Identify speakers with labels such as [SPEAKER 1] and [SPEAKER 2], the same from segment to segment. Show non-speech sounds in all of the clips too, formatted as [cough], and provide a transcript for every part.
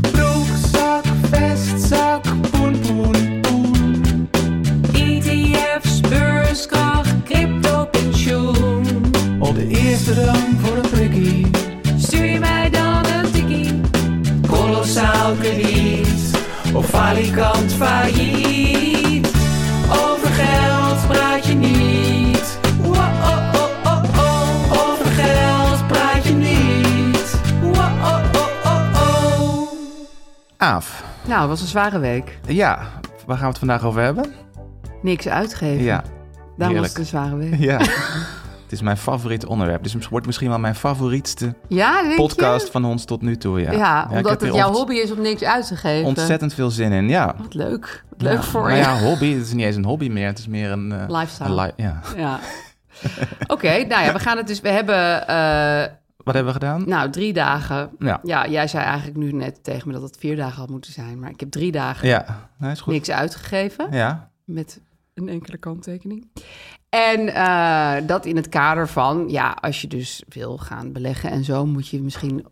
[SPEAKER 1] Broekzakken, vestzakken, poen, poen, poen. ETF's, beurskracht, crypto, pensioen.
[SPEAKER 2] Op de eerste rang voor een prikkie.
[SPEAKER 1] Stuur je mij dan een tikkie? Kolossaal krediet. Of falikant failliet. Over geld praat je niet. Wow-oh-oh-oh-oh. Over geld praat je niet. Wow-oh-oh-oh-oh.
[SPEAKER 2] Aaf,
[SPEAKER 3] Nou, het was een zware week.
[SPEAKER 2] ja, waar gaan we het vandaag over hebben?
[SPEAKER 3] Niks uitgeven.
[SPEAKER 2] Ja,
[SPEAKER 3] Daarom was
[SPEAKER 2] heerlijk.
[SPEAKER 3] het dus een zware week. [laughs]
[SPEAKER 2] ja. het is mijn favoriet onderwerp. Dus het wordt misschien wel mijn favorietste
[SPEAKER 3] Ja, denk je?
[SPEAKER 2] podcast van ons tot nu toe. Ja,
[SPEAKER 3] Ja,
[SPEAKER 2] ik heb
[SPEAKER 3] omdat
[SPEAKER 2] er
[SPEAKER 3] het jouw
[SPEAKER 2] ont-
[SPEAKER 3] hobby is om niks uit te geven.
[SPEAKER 2] Ontzettend veel zin in, ja.
[SPEAKER 3] Wat leuk. Wat leuk
[SPEAKER 2] Ja.
[SPEAKER 3] voor
[SPEAKER 2] Nou
[SPEAKER 3] je.
[SPEAKER 2] ja, hobby, het is niet eens een hobby meer. Het is meer een... eh,
[SPEAKER 3] Lifestyle.
[SPEAKER 2] een li- ja.
[SPEAKER 3] [laughs] Ja. Oké, nou ja, we gaan het dus... We hebben eh,
[SPEAKER 2] Wat hebben we gedaan?
[SPEAKER 3] nou drie dagen.
[SPEAKER 2] Ja.
[SPEAKER 3] ja, jij zei eigenlijk nu net tegen me dat het vier dagen had moeten zijn. Maar ik heb drie dagen
[SPEAKER 2] Ja, nee, is goed.
[SPEAKER 3] niks uitgegeven.
[SPEAKER 2] Ja,
[SPEAKER 3] Met een enkele kanttekening. En eh, dat in het kader van, ja, als je dus wil gaan beleggen en zo, moet je misschien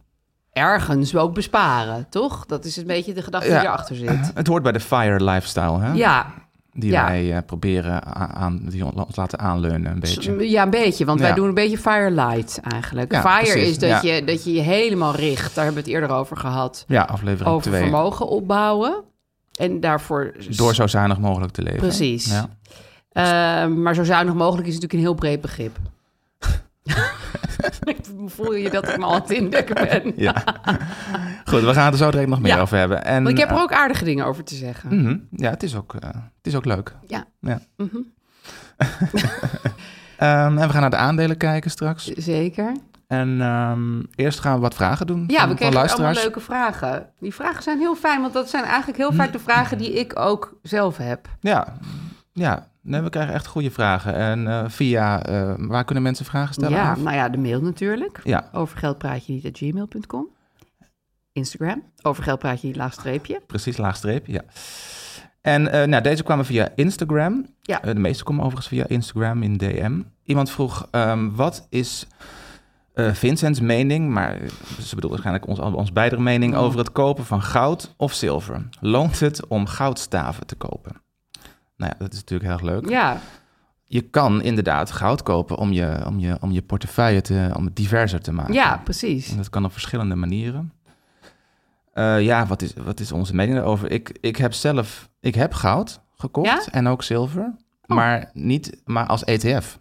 [SPEAKER 3] ergens ook besparen, toch? Dat is een beetje de gedachte
[SPEAKER 2] Ja.
[SPEAKER 3] die erachter zit.
[SPEAKER 2] het hoort bij de fire lifestyle, hè?
[SPEAKER 3] Ja,
[SPEAKER 2] Die
[SPEAKER 3] ja.
[SPEAKER 2] wij eh, proberen a- aan, die ons laten aanleunen een beetje.
[SPEAKER 3] ja, een beetje, want wij
[SPEAKER 2] Ja.
[SPEAKER 3] doen een beetje firelight eigenlijk.
[SPEAKER 2] Ja,
[SPEAKER 3] Fire
[SPEAKER 2] precies,
[SPEAKER 3] is dat,
[SPEAKER 2] ja.
[SPEAKER 3] je, dat je je helemaal richt, daar hebben we het eerder over gehad,
[SPEAKER 2] Ja, aflevering
[SPEAKER 3] over
[SPEAKER 2] 2.
[SPEAKER 3] vermogen opbouwen. En daarvoor...
[SPEAKER 2] Door zo zuinig mogelijk te leven.
[SPEAKER 3] Precies.
[SPEAKER 2] Ja.
[SPEAKER 3] Eh, maar zo zuinig mogelijk is natuurlijk een heel breed
[SPEAKER 2] [laughs]
[SPEAKER 3] begrip. ik voel je dat ik me al aan het indekken ben. [laughs]
[SPEAKER 2] Ja. Goed, we gaan het er zo direct nog meer
[SPEAKER 3] Ja.
[SPEAKER 2] over hebben. En,
[SPEAKER 3] Want ik heb er
[SPEAKER 2] eh,
[SPEAKER 3] ook aardige dingen over te zeggen.
[SPEAKER 2] mhm. ja, het is ook, eh, het is ook leuk.
[SPEAKER 3] Ja.
[SPEAKER 2] Ja.
[SPEAKER 3] Mhm.
[SPEAKER 2] Ehm, en we gaan naar de aandelen kijken straks.
[SPEAKER 3] Zeker.
[SPEAKER 2] En ehm, eerst gaan we wat vragen doen
[SPEAKER 3] Ja,
[SPEAKER 2] van,
[SPEAKER 3] we
[SPEAKER 2] van
[SPEAKER 3] kregen allemaal
[SPEAKER 2] luisteraars.
[SPEAKER 3] leuke vragen. Die vragen zijn heel fijn, want dat zijn eigenlijk heel vaak de
[SPEAKER 2] Mm.
[SPEAKER 3] vragen die ik ook zelf heb.
[SPEAKER 2] Ja, ja. Nee, we krijgen echt goede vragen. En eh, via, eh, waar kunnen mensen vragen stellen?
[SPEAKER 3] ja,
[SPEAKER 2] Aaf?
[SPEAKER 3] nou ja, de mail natuurlijk.
[SPEAKER 2] ja.
[SPEAKER 3] Over geld praat je niet at gmail.com. Instagram. Over geld praat je niet laagstreepje.
[SPEAKER 2] precies, laagstreep, ja. En eh, nou, deze kwamen via Instagram.
[SPEAKER 3] Ja.
[SPEAKER 2] Eh, de meeste komen overigens via Instagram in DM. Iemand vroeg, ehm, wat is eh, Vincent's mening, maar eh, ze bedoelt waarschijnlijk ons, ons beider
[SPEAKER 3] Mm.
[SPEAKER 2] mening, over het kopen van goud of zilver? Loont het om goudstaven te kopen? Nou ja, dat is natuurlijk heel erg leuk.
[SPEAKER 3] Ja,
[SPEAKER 2] Je kan inderdaad goud kopen om je, om je, om je portefeuille te, om het diverser te maken.
[SPEAKER 3] ja precies.
[SPEAKER 2] En dat kan op verschillende manieren. Eh, ja, wat is, wat is onze mening daarover? Ik, ik heb zelf, ik heb goud gekocht
[SPEAKER 3] Ja?
[SPEAKER 2] en ook zilver, maar niet, maar als E ETF.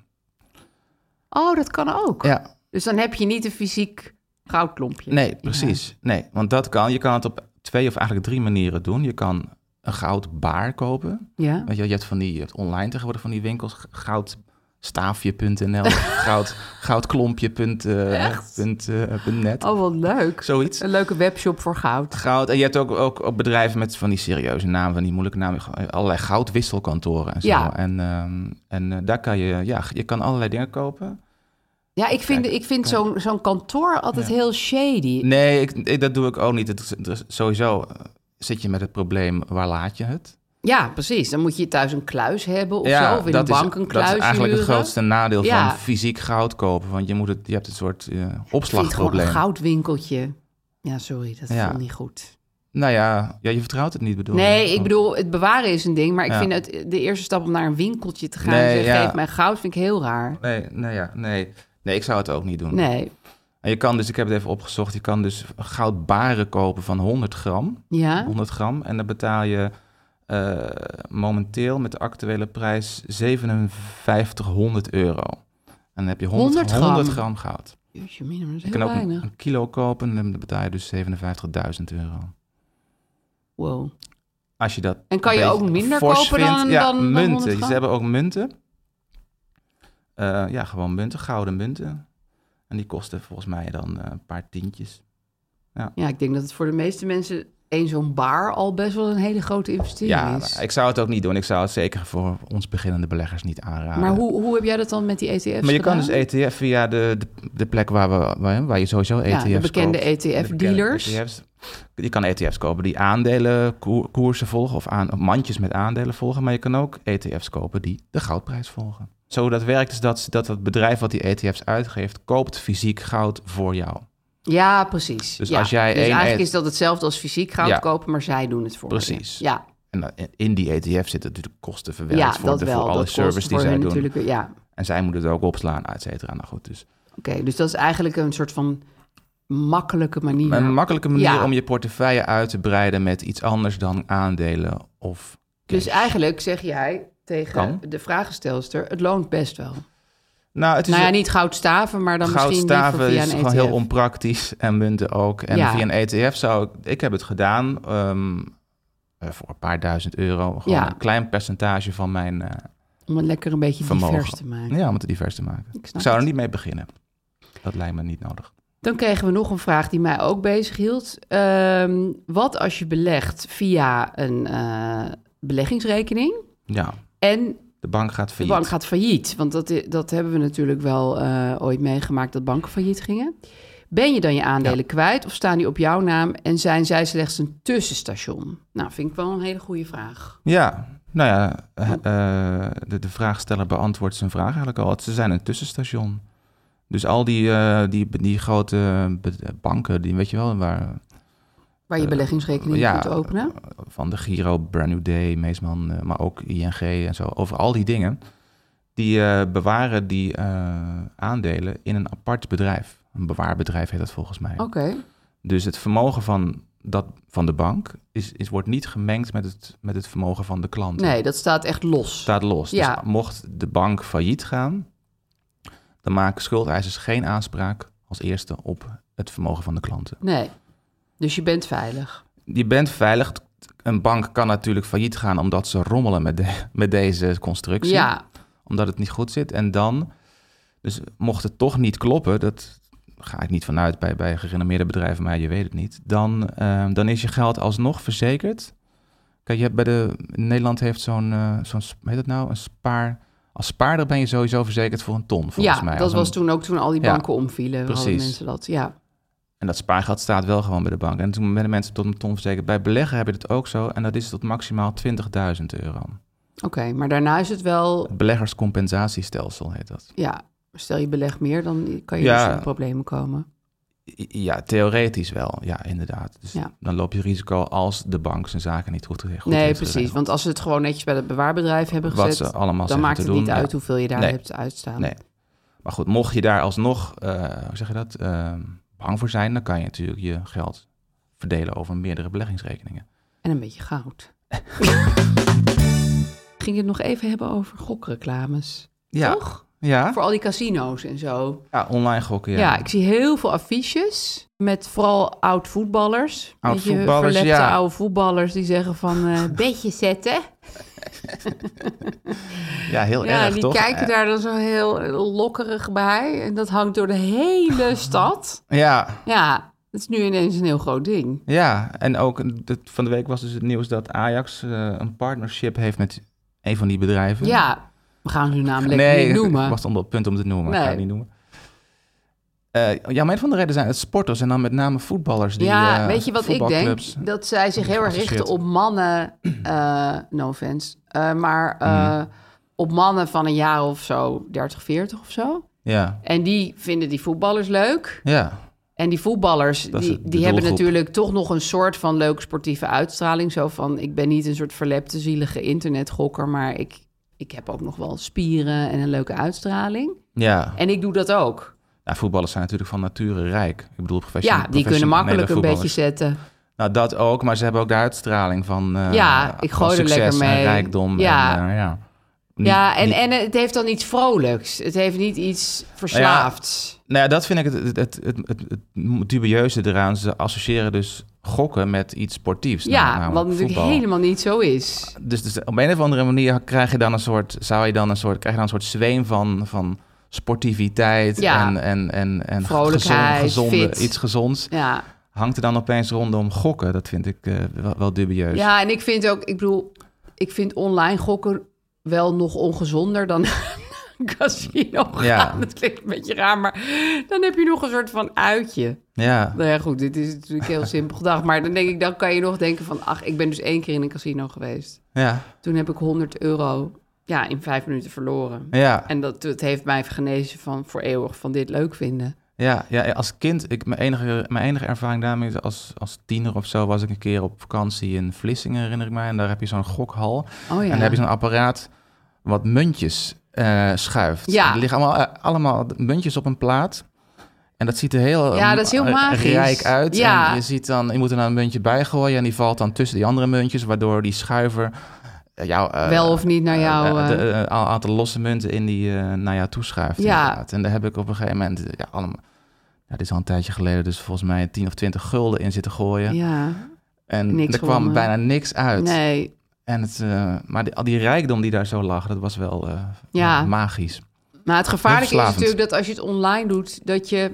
[SPEAKER 3] Oh, dat kan ook.
[SPEAKER 2] Ja,
[SPEAKER 3] Dus dan heb je niet een fysiek goudklompje.
[SPEAKER 2] nee, precies. Nee, want dat kan, je kan het op twee of eigenlijk drie manieren doen. Je kan een goudbaar kopen.
[SPEAKER 3] Ja.
[SPEAKER 2] Weet je, wel, je hebt van die, je hebt online tegenwoordig van die winkels, g-
[SPEAKER 3] [laughs]
[SPEAKER 2] goudstaafje.nl, goud, eh,
[SPEAKER 3] Echt?
[SPEAKER 2] goudklompje.net,
[SPEAKER 3] Oh, wat leuk.
[SPEAKER 2] zoiets.
[SPEAKER 3] Een leuke webshop voor goud.
[SPEAKER 2] Goud. En je hebt ook, ook, ook bedrijven met van die serieuze namen, van die moeilijke namen. Allerlei goudwisselkantoren en zo.
[SPEAKER 3] Ja.
[SPEAKER 2] En, ehm, en eh, daar kan je, ja, je kan allerlei dingen kopen.
[SPEAKER 3] Ja, ik vind, ik vind zo'n zo'n kantoor altijd heel shady.
[SPEAKER 2] Nee, ik, ik- dat doe ik ook niet. Het, is- het is sowieso eh, zit je met het probleem, waar laat je het?
[SPEAKER 3] Ja, precies. Dan moet je thuis een kluis hebben of zo. Of in
[SPEAKER 2] dat
[SPEAKER 3] een bank
[SPEAKER 2] is,
[SPEAKER 3] een kluis
[SPEAKER 2] Dat is eigenlijk het
[SPEAKER 3] huren.
[SPEAKER 2] grootste nadeel
[SPEAKER 3] Ja.
[SPEAKER 2] van fysiek goud kopen. Want je, moet het, je hebt een soort eh,
[SPEAKER 3] Ik vind gewoon een
[SPEAKER 2] opslagprobleem.
[SPEAKER 3] goudwinkeltje. Ja, sorry, dat
[SPEAKER 2] Ja.
[SPEAKER 3] voelt niet goed.
[SPEAKER 2] Nou ja, ja, je vertrouwt het niet, bedoel
[SPEAKER 3] Nee,
[SPEAKER 2] je?
[SPEAKER 3] ik bedoel, het bewaren is een ding. Maar ik
[SPEAKER 2] Ja.
[SPEAKER 3] vind het, de eerste stap om naar een winkeltje te gaan...
[SPEAKER 2] Nee,
[SPEAKER 3] en zeggen,
[SPEAKER 2] ja.
[SPEAKER 3] geef mij goud, vind ik heel raar.
[SPEAKER 2] Nee, nee, nou ja, nee. Nee, ik zou het ook niet doen.
[SPEAKER 3] Nee.
[SPEAKER 2] En je kan dus, ik heb het even opgezocht, je kan dus goudbaren kopen van 100 gram.
[SPEAKER 3] Ja?
[SPEAKER 2] 100 gram. En dan betaal je eh, momenteel met de actuele prijs 5700 euro. En dan heb je 100,
[SPEAKER 3] 100
[SPEAKER 2] 100
[SPEAKER 3] gram.
[SPEAKER 2] gram. goud.
[SPEAKER 3] Jeetje, mina, maar dat
[SPEAKER 2] Je
[SPEAKER 3] is
[SPEAKER 2] kan
[SPEAKER 3] heel
[SPEAKER 2] ook een,
[SPEAKER 3] weinig.
[SPEAKER 2] een kilo kopen en dan betaal je dus 57.000 euro.
[SPEAKER 3] Wow.
[SPEAKER 2] Als je dat
[SPEAKER 3] En kan je
[SPEAKER 2] een
[SPEAKER 3] ook
[SPEAKER 2] beetje
[SPEAKER 3] minder kopen
[SPEAKER 2] fors vindt.
[SPEAKER 3] dan,
[SPEAKER 2] ja,
[SPEAKER 3] dan, dan
[SPEAKER 2] munten.
[SPEAKER 3] 100 gram?
[SPEAKER 2] Ze hebben ook munten. Eh, ja, gewoon munten, gouden munten. En die kosten volgens mij dan eh, een paar tientjes.
[SPEAKER 3] Ja, ik denk dat het voor de meeste mensen één zo'n baar al best wel een hele grote investering
[SPEAKER 2] ja,
[SPEAKER 3] is.
[SPEAKER 2] ik zou het ook niet doen. Ik zou het zeker voor ons beginnende beleggers niet aanraden.
[SPEAKER 3] Maar hoe, hoe heb jij dat dan met die ETF's
[SPEAKER 2] Maar je kan
[SPEAKER 3] gedaan?
[SPEAKER 2] dus ETF via de, de, de plek waar, we, waar, waar je sowieso ETF's
[SPEAKER 3] Ja,
[SPEAKER 2] koopt.
[SPEAKER 3] de bekende E
[SPEAKER 2] De bekende E
[SPEAKER 3] ETF-dealers.
[SPEAKER 2] ETF's. Je kan ETF's kopen die aandelen koer- koersen volgen of, aan, of mandjes met aandelen volgen. Maar je kan ook ETF's kopen die de goudprijs volgen. Zo dat werkt is dat, dat het bedrijf wat die ETF's uitgeeft, koopt fysiek goud voor jou.
[SPEAKER 3] Ja, precies.
[SPEAKER 2] Dus
[SPEAKER 3] Ja.
[SPEAKER 2] als jij
[SPEAKER 3] Dus
[SPEAKER 2] één
[SPEAKER 3] eigenlijk
[SPEAKER 2] e-
[SPEAKER 3] is dat hetzelfde als fysiek goud
[SPEAKER 2] Ja.
[SPEAKER 3] kopen, maar zij doen het voor je.
[SPEAKER 2] Precies.
[SPEAKER 3] Ja,
[SPEAKER 2] En dan- in die ETF zitten natuurlijk kosten verwerkt
[SPEAKER 3] ja
[SPEAKER 2] voor,
[SPEAKER 3] dat
[SPEAKER 2] de,
[SPEAKER 3] wel.
[SPEAKER 2] voor alle
[SPEAKER 3] dat kost
[SPEAKER 2] service die
[SPEAKER 3] voor
[SPEAKER 2] zij
[SPEAKER 3] hun
[SPEAKER 2] doen.
[SPEAKER 3] natuurlijk weer- Ja,
[SPEAKER 2] En zij moeten het ook opslaan, et cetera. Nou goed, dus
[SPEAKER 3] oké. Dus dat is eigenlijk een soort van makkelijke manier. Nou,
[SPEAKER 2] een makkelijke manier
[SPEAKER 3] Ja.
[SPEAKER 2] om je portefeuille uit te breiden met iets anders dan aandelen of
[SPEAKER 3] Dus eigenlijk zeg jij tegen
[SPEAKER 2] Kan.
[SPEAKER 3] de vragenstelster, het loont best wel.
[SPEAKER 2] Nou, het is
[SPEAKER 3] nou ja, niet goudstaven, maar dan misschien liever
[SPEAKER 2] goudstaven
[SPEAKER 3] via
[SPEAKER 2] is
[SPEAKER 3] een E
[SPEAKER 2] gewoon
[SPEAKER 3] ETF.
[SPEAKER 2] heel onpraktisch en munten ook. En
[SPEAKER 3] Ja.
[SPEAKER 2] via een ETF zou ik, ik heb het gedaan ehm, eh, voor een paar duizend euro, gewoon
[SPEAKER 3] Ja.
[SPEAKER 2] een klein percentage van mijn eh,
[SPEAKER 3] Om het lekker een beetje
[SPEAKER 2] vermogen.
[SPEAKER 3] divers te maken.
[SPEAKER 2] Ja, om het divers te maken.
[SPEAKER 3] Ik
[SPEAKER 2] Ik,
[SPEAKER 3] snap
[SPEAKER 2] zou er
[SPEAKER 3] het.
[SPEAKER 2] niet mee beginnen. Dat lijkt me niet nodig.
[SPEAKER 3] Dan kregen we nog een vraag die mij ook bezighield. Ehm wat als je belegt via een eh, beleggingsrekening
[SPEAKER 2] Ja,
[SPEAKER 3] en
[SPEAKER 2] de bank gaat
[SPEAKER 3] de
[SPEAKER 2] failliet.
[SPEAKER 3] bank gaat failliet? Want dat, i- dat hebben we natuurlijk wel eh, ooit meegemaakt dat banken failliet gingen. Ben je dan je aandelen
[SPEAKER 2] Ja.
[SPEAKER 3] kwijt of staan die op jouw naam en zijn zij slechts een tussenstation? Nou, vind ik wel een hele goede vraag.
[SPEAKER 2] Ja, nou ja, eh, eh, de, de vraagsteller beantwoordt zijn vraag eigenlijk al. Ze zijn een tussenstation. Dus al die, eh, die, die grote be- banken, die weet je wel, waar
[SPEAKER 3] Waar je
[SPEAKER 2] Eh,
[SPEAKER 3] beleggingsrekening
[SPEAKER 2] ja,
[SPEAKER 3] kunt openen.
[SPEAKER 2] van de Giro, Brand New Day, Meesman, eh, maar ook ING en zo, over al die dingen, die eh, bewaren die eh, aandelen in een apart bedrijf. Een bewaarbedrijf heet dat volgens mij.
[SPEAKER 3] Oké,
[SPEAKER 2] Dus het vermogen van, dat, van de bank is, is, wordt niet gemengd met het, met het vermogen van de klant.
[SPEAKER 3] nee, dat staat echt los.
[SPEAKER 2] staat los.
[SPEAKER 3] Ja.
[SPEAKER 2] Dus mocht de bank failliet gaan, dan maken schuldeisers geen aanspraak als eerste op het vermogen van de klanten.
[SPEAKER 3] Nee, dus je bent veilig.
[SPEAKER 2] Je bent veilig. Een bank kan natuurlijk failliet gaan omdat ze rommelen met, de- met deze constructie.
[SPEAKER 3] Ja,
[SPEAKER 2] Omdat het niet goed zit. En dan, dus mocht het toch niet kloppen, dat ga ik niet vanuit bij, bij gerenommeerde bedrijven, maar je weet het niet. Dan, ehm, dan is je geld alsnog verzekerd. Kijk, je hebt bij de, in Nederland heeft zo'n, eh, zo'n, sp- hoe heet dat nou, een spaar. Als spaarder ben je sowieso verzekerd voor een ton, volgens
[SPEAKER 3] ja
[SPEAKER 2] mij.
[SPEAKER 3] dat
[SPEAKER 2] Als een-
[SPEAKER 3] was toen ook toen al die
[SPEAKER 2] Ja,
[SPEAKER 3] banken omvielen. Precies. Hadden
[SPEAKER 2] precies.
[SPEAKER 3] mensen dat, ja.
[SPEAKER 2] En dat spaargeld staat wel gewoon bij de bank. En toen werden mensen tot een ton verzekerd. Bij beleggen heb je dat ook zo. En dat is tot maximaal 20.000 euro.
[SPEAKER 3] Oké, maar daarna is het wel,
[SPEAKER 2] Het beleggerscompensatiestelsel heet dat.
[SPEAKER 3] ja, stel je belegt meer, dan kan je
[SPEAKER 2] Ja.
[SPEAKER 3] dus in problemen komen.
[SPEAKER 2] I- Ja, theoretisch wel. Ja, inderdaad. Dus
[SPEAKER 3] Ja.
[SPEAKER 2] dan loop je risico als de bank zijn zaken niet goed, goed
[SPEAKER 3] nee,
[SPEAKER 2] heeft
[SPEAKER 3] precies.
[SPEAKER 2] geregeld.
[SPEAKER 3] Want als ze het gewoon netjes bij het bewaarbedrijf hebben
[SPEAKER 2] Wat
[SPEAKER 3] gezet,
[SPEAKER 2] ze
[SPEAKER 3] dan
[SPEAKER 2] allemaal zeggen
[SPEAKER 3] maakt
[SPEAKER 2] te
[SPEAKER 3] het
[SPEAKER 2] doen,
[SPEAKER 3] niet
[SPEAKER 2] ja.
[SPEAKER 3] uit hoeveel je daar
[SPEAKER 2] Nee.
[SPEAKER 3] hebt uitstaan.
[SPEAKER 2] Nee. Maar goed, mocht je daar alsnog, eh, hoe zeg je dat, eh, bang voor zijn... dan kan je natuurlijk je geld verdelen over meerdere beleggingsrekeningen.
[SPEAKER 3] En een beetje
[SPEAKER 2] [laughs]
[SPEAKER 3] goud. Ging je het nog even hebben over gokreclames?
[SPEAKER 2] Ja.
[SPEAKER 3] Toch?
[SPEAKER 2] Ja,
[SPEAKER 3] Voor al die casino's en zo.
[SPEAKER 2] ja online gokken,
[SPEAKER 3] Ja.
[SPEAKER 2] ja.
[SPEAKER 3] ik zie heel veel affiches met vooral oud voetballers.
[SPEAKER 2] Oud
[SPEAKER 3] Beetje
[SPEAKER 2] voetballers,
[SPEAKER 3] verlepte
[SPEAKER 2] ja.
[SPEAKER 3] oude voetballers die zeggen van
[SPEAKER 2] [laughs]
[SPEAKER 3] eh bedje zetten.
[SPEAKER 2] ja heel
[SPEAKER 3] Ja,
[SPEAKER 2] erg,
[SPEAKER 3] die
[SPEAKER 2] toch?
[SPEAKER 3] kijken daar dan zo heel eh, lokkerig bij. En dat hangt door de
[SPEAKER 2] [laughs]
[SPEAKER 3] hele stad.
[SPEAKER 2] Ja,
[SPEAKER 3] Ja, het is nu ineens een heel groot ding.
[SPEAKER 2] Ja, en ook de- van de week was dus het nieuws dat Ajax eh, een partnership heeft met een van die bedrijven.
[SPEAKER 3] Ja, we gaan hun namelijk
[SPEAKER 2] nee,
[SPEAKER 3] niet
[SPEAKER 2] ik
[SPEAKER 3] noemen.
[SPEAKER 2] was onder het punt om te noemen, maar
[SPEAKER 3] Nee.
[SPEAKER 2] ik ga het niet noemen. Eh, ja, maar een van de redenen zijn het sporters en dan met name voetballers. Die,
[SPEAKER 3] ja,
[SPEAKER 2] eh,
[SPEAKER 3] weet je wat ik denk?
[SPEAKER 2] voetbalclubs-
[SPEAKER 3] Dat zij zich heel erg richten op mannen, eh, no offense, eh, maar eh,
[SPEAKER 2] Mhm.
[SPEAKER 3] op mannen van een jaar of zo, 30, 40 of zo.
[SPEAKER 2] Ja,
[SPEAKER 3] En die vinden die voetballers leuk.
[SPEAKER 2] ja.
[SPEAKER 3] En die voetballers,
[SPEAKER 2] Dat is
[SPEAKER 3] die,
[SPEAKER 2] de
[SPEAKER 3] die hebben
[SPEAKER 2] doelgroep.
[SPEAKER 3] natuurlijk toch nog een soort van leuke sportieve uitstraling. Zo van, ik ben niet een soort verlepte, zielige internetgokker, maar ik, ik heb ook nog wel spieren en een leuke uitstraling.
[SPEAKER 2] Ja.
[SPEAKER 3] En ik doe dat ook.
[SPEAKER 2] ja, voetballers zijn natuurlijk van nature rijk. Ik bedoel, profession-
[SPEAKER 3] Ja, die kunnen
[SPEAKER 2] professionele
[SPEAKER 3] makkelijk een beetje
[SPEAKER 2] voetballers.
[SPEAKER 3] zetten.
[SPEAKER 2] Nou, dat ook, maar ze hebben ook de uitstraling van, eh,
[SPEAKER 3] Ja, ik
[SPEAKER 2] van
[SPEAKER 3] gooi er
[SPEAKER 2] succes
[SPEAKER 3] lekker
[SPEAKER 2] en
[SPEAKER 3] mee.
[SPEAKER 2] rijkdom.
[SPEAKER 3] Ja.
[SPEAKER 2] En, eh, ja. Niet-
[SPEAKER 3] Ja, en,
[SPEAKER 2] niet-
[SPEAKER 3] en het heeft dan iets vrolijks. Het heeft niet iets verslaafds.
[SPEAKER 2] Nou ja, dat vind ik het, het, het, het, het- het dubieuze eraan. Ze associëren dus gokken met iets sportiefs.
[SPEAKER 3] Ja,
[SPEAKER 2] namelijk
[SPEAKER 3] wat natuurlijk
[SPEAKER 2] nou, voetbal.
[SPEAKER 3] helemaal niet zo is.
[SPEAKER 2] Dus, dus op een of andere manier krijg je dan een soort, zou je dan een soort, krijg je dan een soort zweem van, van sportiviteit
[SPEAKER 3] Ja.
[SPEAKER 2] en, en, en, en
[SPEAKER 3] Vrolijkheid, fit.
[SPEAKER 2] iets gezonds.
[SPEAKER 3] Ja.
[SPEAKER 2] Hangt er dan opeens rondom gokken? Dat vind ik eh, wel, wel dubieus.
[SPEAKER 3] ja, en ik vind ook, ik bedoel, ik vind online gokken wel nog ongezonder dan [laughs] casino gaan.
[SPEAKER 2] Ja.
[SPEAKER 3] Dat klinkt een beetje raar, maar dan heb je nog een soort van uitje.
[SPEAKER 2] Ja.
[SPEAKER 3] Nou ja, goed, dit is natuurlijk heel simpel gedacht. Maar dan denk ik, dan kan je nog denken van... ach, ik ben dus één keer in een casino geweest.
[SPEAKER 2] Ja.
[SPEAKER 3] Toen heb ik 100 euro ja, in vijf minuten verloren.
[SPEAKER 2] Ja.
[SPEAKER 3] En dat, het heeft mij genezen van voor eeuwig van dit leuk vinden.
[SPEAKER 2] Ja, ja, als kind, ik, mijn, enige, mijn enige ervaring daarmee is als, als tiener of zo was ik een keer op vakantie in Vlissingen, herinner ik mij. En daar heb je zo'n gokhal.
[SPEAKER 3] Oh
[SPEAKER 2] En
[SPEAKER 3] ja.
[SPEAKER 2] daar heb je zo'n apparaat wat muntjes eh, schuift.
[SPEAKER 3] Ja.
[SPEAKER 2] Er liggen allemaal, eh, allemaal muntjes op een plaat. En dat ziet er heel,
[SPEAKER 3] Ja, dat is heel
[SPEAKER 2] eh,
[SPEAKER 3] magisch.
[SPEAKER 2] rijk uit.
[SPEAKER 3] Ja.
[SPEAKER 2] En je, ziet dan, je moet er dan een muntje bij gooien en die valt dan tussen die andere muntjes, waardoor die schuiver eh, jou, eh,
[SPEAKER 3] Wel of niet naar
[SPEAKER 2] eh,
[SPEAKER 3] jou,
[SPEAKER 2] eh, de-
[SPEAKER 3] eh,
[SPEAKER 2] eh, een aantal losse munten in die eh, naar jou toeschuift.
[SPEAKER 3] Ja.
[SPEAKER 2] inderdaad. En daar heb ik op een gegeven moment eh, ja, allemaal. Ja, dit is al een tijdje geleden, dus volgens mij 10 of 20 gulden in zitten gooien.
[SPEAKER 3] Ja,
[SPEAKER 2] en
[SPEAKER 3] niks
[SPEAKER 2] er kwam
[SPEAKER 3] gewonnen.
[SPEAKER 2] bijna niks uit.
[SPEAKER 3] nee.
[SPEAKER 2] En het, eh, maar die, al die rijkdom die daar zo lag, dat was wel eh,
[SPEAKER 3] Ja.
[SPEAKER 2] magisch.
[SPEAKER 3] Maar het gevaarlijke is
[SPEAKER 2] Verslavend.
[SPEAKER 3] natuurlijk dat als je het online doet, dat je...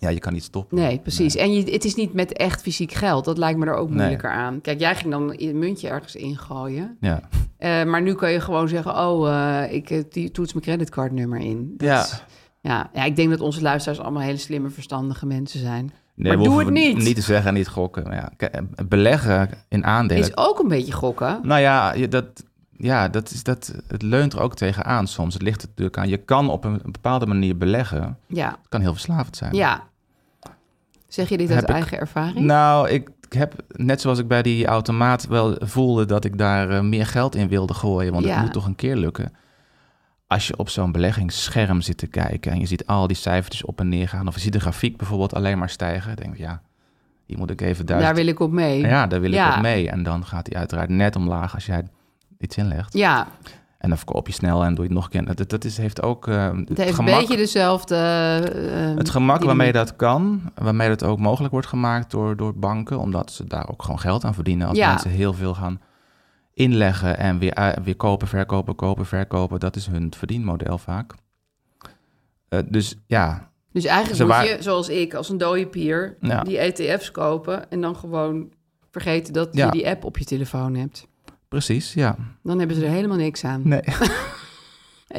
[SPEAKER 2] Ja, je kan niet stoppen.
[SPEAKER 3] Nee, precies. En je, het is niet met echt fysiek geld. Dat lijkt me er ook moeilijker aan. Kijk, jij ging dan een muntje ergens ingooien.
[SPEAKER 2] Ja.
[SPEAKER 3] Eh, maar nu kan je gewoon zeggen, oh, eh, ik eh, die- toets mijn creditcardnummer in. Dat
[SPEAKER 2] Ja.
[SPEAKER 3] is- ja. Ja, ik denk dat onze luisteraars allemaal hele slimme, verstandige mensen zijn.
[SPEAKER 2] Nee,
[SPEAKER 3] maar
[SPEAKER 2] we
[SPEAKER 3] doe het
[SPEAKER 2] hoeven
[SPEAKER 3] niet.
[SPEAKER 2] Niet te zeggen en niet gokken. Maar Ja, kijk, eh, beleggen in aandelen.
[SPEAKER 3] Is ook een beetje gokken.
[SPEAKER 2] Nou ja, je- dat, ja dat is, dat, het leunt er ook tegen aan soms. Het ligt er natuurlijk aan. Je kan op een bepaalde manier beleggen.
[SPEAKER 3] Ja,
[SPEAKER 2] Het kan heel verslavend zijn.
[SPEAKER 3] ja. Zeg je dit uit
[SPEAKER 2] Heb ik-
[SPEAKER 3] eigen ervaring?
[SPEAKER 2] Nou, ik heb, net zoals ik bij die automaat wel voelde dat ik daar eh, meer geld in wilde gooien, want
[SPEAKER 3] Ja.
[SPEAKER 2] het moet toch een keer lukken. Als je op zo'n beleggingsscherm zit te kijken en je ziet al die cijfertjes op en neer gaan, of je ziet de grafiek bijvoorbeeld alleen maar stijgen, denk je, ja, hier moet ik even
[SPEAKER 3] Daar
[SPEAKER 2] duizend...
[SPEAKER 3] wil ik op mee.
[SPEAKER 2] Ja, daar wil
[SPEAKER 3] Ja.
[SPEAKER 2] ik op mee. En dan gaat die uiteraard net omlaag als jij iets inlegt.
[SPEAKER 3] Ja,
[SPEAKER 2] En dan verkoop je snel en doe je het nog een keer. Dat, dat is, heeft ook eh,
[SPEAKER 3] het
[SPEAKER 2] het
[SPEAKER 3] heeft een
[SPEAKER 2] gemak
[SPEAKER 3] beetje dezelfde... eh,
[SPEAKER 2] het gemak
[SPEAKER 3] die-
[SPEAKER 2] waarmee dat kan, waarmee dat ook mogelijk wordt gemaakt door, door banken, omdat ze daar ook gewoon geld aan verdienen. Als
[SPEAKER 3] Ja.
[SPEAKER 2] mensen heel veel gaan inleggen en weer, uit- weer kopen, verkopen, kopen, verkopen, dat is hun verdienmodel vaak. Eh, dus ja,
[SPEAKER 3] Dus eigenlijk
[SPEAKER 2] Ze
[SPEAKER 3] moet
[SPEAKER 2] wa-
[SPEAKER 3] je, zoals ik, als een dode pier,
[SPEAKER 2] Ja.
[SPEAKER 3] die ETF's kopen... en dan gewoon vergeten dat
[SPEAKER 2] Ja.
[SPEAKER 3] je die app op je telefoon hebt.
[SPEAKER 2] precies, ja.
[SPEAKER 3] Dan hebben ze er helemaal niks aan.
[SPEAKER 2] Nee.
[SPEAKER 3] En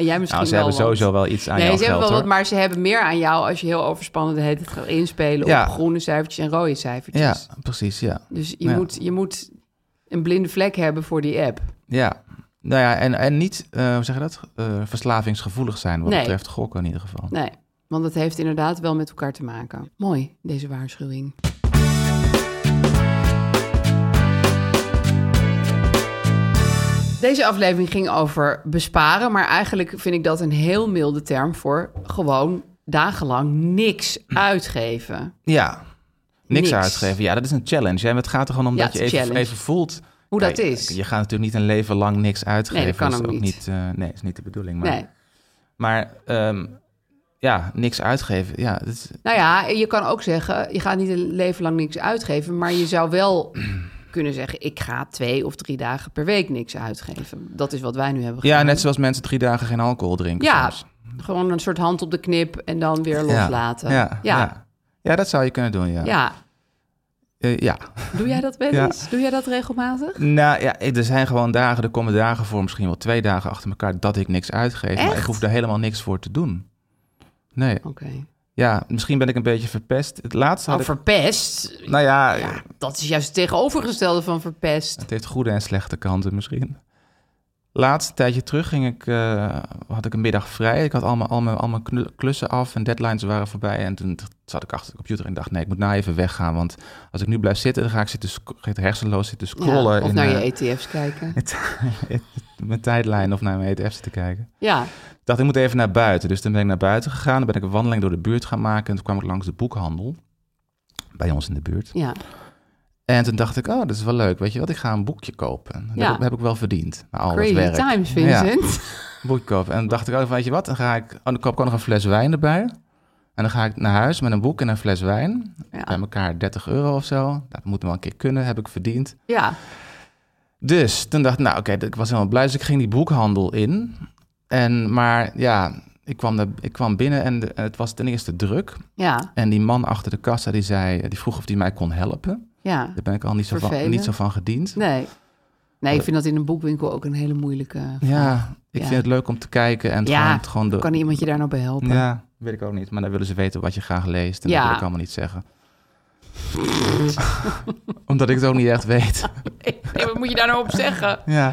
[SPEAKER 3] jij misschien
[SPEAKER 2] Nou, ze
[SPEAKER 3] wel
[SPEAKER 2] hebben
[SPEAKER 3] wat.
[SPEAKER 2] sowieso wel iets aan
[SPEAKER 3] Nee,
[SPEAKER 2] jouw
[SPEAKER 3] ze hebben
[SPEAKER 2] geld,
[SPEAKER 3] wel wat,
[SPEAKER 2] hoor.
[SPEAKER 3] maar ze hebben meer aan jou als je heel overspannen de hele tijd gaat inspelen
[SPEAKER 2] Ja.
[SPEAKER 3] op groene cijfertjes en rode cijfertjes.
[SPEAKER 2] Ja, precies, ja.
[SPEAKER 3] Dus je,
[SPEAKER 2] Ja.
[SPEAKER 3] moet, je moet een blinde vlek hebben voor die app.
[SPEAKER 2] Ja, nou ja, en, en niet, eh, hoe zeg je dat, Eh, verslavingsgevoelig zijn wat
[SPEAKER 3] Nee.
[SPEAKER 2] betreft gokken in ieder geval.
[SPEAKER 3] Nee, want dat heeft inderdaad wel met elkaar te maken. Mooi, deze waarschuwing. Deze aflevering ging over besparen, maar eigenlijk vind ik dat een heel milde term voor gewoon dagenlang niks uitgeven.
[SPEAKER 2] Ja, niks,
[SPEAKER 3] Niks.
[SPEAKER 2] uitgeven. Ja, dat is een challenge. Hè? Het gaat er gewoon om
[SPEAKER 3] Ja,
[SPEAKER 2] dat je
[SPEAKER 3] het is een
[SPEAKER 2] even,
[SPEAKER 3] challenge.
[SPEAKER 2] even voelt...
[SPEAKER 3] Hoe
[SPEAKER 2] Ja,
[SPEAKER 3] dat
[SPEAKER 2] je-
[SPEAKER 3] is.
[SPEAKER 2] Je, gaat natuurlijk niet een leven lang niks uitgeven.
[SPEAKER 3] Nee, dat kan
[SPEAKER 2] is
[SPEAKER 3] ook
[SPEAKER 2] ook
[SPEAKER 3] niet.
[SPEAKER 2] niet. eh, nee, is niet de bedoeling. Maar,
[SPEAKER 3] Nee.
[SPEAKER 2] maar ehm, ja, niks uitgeven. Ja, dat is,
[SPEAKER 3] Nou ja, je kan ook zeggen, je gaat niet een leven lang niks uitgeven, maar je zou wel kunnen zeggen, ik ga twee of drie dagen per week niks uitgeven. Dat is wat wij nu hebben gedaan.
[SPEAKER 2] ja, net zoals mensen drie dagen geen alcohol drinken.
[SPEAKER 3] Ja,
[SPEAKER 2] soms.
[SPEAKER 3] gewoon een soort hand op de knip en dan weer loslaten.
[SPEAKER 2] Ja, ja,
[SPEAKER 3] ja.
[SPEAKER 2] ja. Ja, dat zou je kunnen doen, ja.
[SPEAKER 3] Ja.
[SPEAKER 2] Eh, ja.
[SPEAKER 3] Doe jij dat wel
[SPEAKER 2] Ja.
[SPEAKER 3] eens? Doe jij dat regelmatig?
[SPEAKER 2] Nou ja, ik- er zijn gewoon dagen, er komen dagen voor, misschien wel twee dagen achter elkaar, dat ik niks uitgeef. Maar ik
[SPEAKER 3] Echt?
[SPEAKER 2] hoef daar helemaal niks voor te doen. Nee,
[SPEAKER 3] Oké.
[SPEAKER 2] ja, misschien ben ik een beetje verpest. Het laatste had
[SPEAKER 3] Nou,
[SPEAKER 2] ik...
[SPEAKER 3] verpest.
[SPEAKER 2] Nou ja,
[SPEAKER 3] Ja, dat is juist het tegenovergestelde van verpest.
[SPEAKER 2] het heeft goede en slechte kanten misschien. Laatst een tijdje terug ging ik, eh, had ik een middag vrij. Ik had allemaal, allemaal, allemaal knu- klussen af en deadlines waren voorbij. En toen t- zat ik achter de computer en dacht, nee, ik moet nou even weggaan. Want als ik nu blijf zitten, dan ga ik zitten sc- ga ik hersenloos zitten scrollen.
[SPEAKER 3] Ja, of
[SPEAKER 2] in,
[SPEAKER 3] naar
[SPEAKER 2] eh,
[SPEAKER 3] je e- ETF's kijken.
[SPEAKER 2] mijn tijdlijn of naar mijn E ETF's te kijken.
[SPEAKER 3] Ja,
[SPEAKER 2] Ik dacht, ik moet even naar buiten. Dus toen ben ik naar buiten gegaan. Dan ben ik een wandeling door de buurt gaan maken. En toen kwam ik langs de boekhandel. Bij ons in de buurt.
[SPEAKER 3] ja.
[SPEAKER 2] En toen dacht ik, oh, dat is wel leuk. Weet je wat, ik ga een boekje kopen. Dat
[SPEAKER 3] Ja.
[SPEAKER 2] heb ik- heb ik wel verdiend. Na al
[SPEAKER 3] Crazy
[SPEAKER 2] dat werk.
[SPEAKER 3] times,
[SPEAKER 2] Ja,
[SPEAKER 3] Vincent. [laughs]
[SPEAKER 2] een boekje kopen. En toen dacht ik, oh, weet je wat, dan ga ik... Oh, dan koop ik ook nog een fles wijn erbij. En dan ga ik naar huis met een boek en een fles wijn.
[SPEAKER 3] Ja.
[SPEAKER 2] Bij elkaar 30 euro of zo. Dat moet wel een keer kunnen, heb ik verdiend.
[SPEAKER 3] Ja,
[SPEAKER 2] Dus toen dacht ik, nou oké, ik was helemaal blij. Dus ik ging die boekhandel in. En, maar ja, ik kwam, daar- ik kwam binnen en de- het was ten eerste druk.
[SPEAKER 3] ja,
[SPEAKER 2] En die man achter de kassa, die, zei, die vroeg of hij mij kon helpen.
[SPEAKER 3] ja.
[SPEAKER 2] Daar ben ik al niet zo, van,
[SPEAKER 3] Vervelend.
[SPEAKER 2] niet zo van gediend.
[SPEAKER 3] Nee. Nee, ik vind dat in een boekwinkel ook een hele moeilijke vraag.
[SPEAKER 2] Ja, ik
[SPEAKER 3] Ja.
[SPEAKER 2] vind het leuk om te kijken en
[SPEAKER 3] Ja,
[SPEAKER 2] gewoon, gewoon de...
[SPEAKER 3] Kan iemand je daar nou bij helpen?
[SPEAKER 2] Ja, weet ik ook niet. Maar dan willen ze weten wat je graag leest. En
[SPEAKER 3] Ja.
[SPEAKER 2] dat wil ik allemaal niet zeggen. [laughs] Omdat ik het ook niet echt weet.
[SPEAKER 3] Nee, wat moet je daar nou op zeggen?
[SPEAKER 2] [laughs] Ja.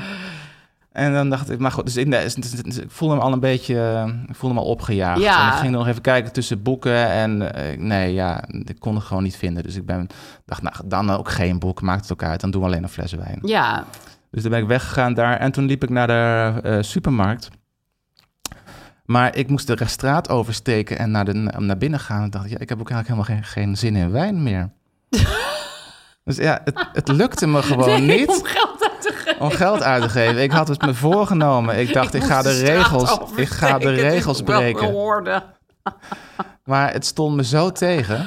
[SPEAKER 2] En dan dacht ik, maar goed, dus ik, nee, dus- dus- dus ik voelde me al een beetje, eh, ik voelde me al opgejaagd.
[SPEAKER 3] Ja.
[SPEAKER 2] En ik ging nog even kijken tussen boeken en eh, nee, ja, ik kon het gewoon niet vinden. Dus ik ben, dacht, nou, dan ook geen boek, maakt het ook uit, dan doen we alleen een fles wijn.
[SPEAKER 3] Ja,
[SPEAKER 2] Dus dan ben ik weggegaan daar en toen liep ik naar de eh, supermarkt. Maar ik moest de straat oversteken en naar, de, naar binnen gaan. En dacht, ik, ja, ik heb ook eigenlijk helemaal geen, geen zin in
[SPEAKER 3] [laughs]
[SPEAKER 2] wijn meer. dus ja, het, het lukte me gewoon
[SPEAKER 3] Nee,
[SPEAKER 2] niet
[SPEAKER 3] om geld uit te geven.
[SPEAKER 2] om geld uit te geven. Ik had het me voorgenomen. Ik dacht, ik,
[SPEAKER 3] moest
[SPEAKER 2] ga de
[SPEAKER 3] straat
[SPEAKER 2] regels,
[SPEAKER 3] oversteken.
[SPEAKER 2] ik ga de
[SPEAKER 3] Het is
[SPEAKER 2] regels
[SPEAKER 3] wel
[SPEAKER 2] breken.
[SPEAKER 3] geworden.
[SPEAKER 2] Maar het stond me zo tegen.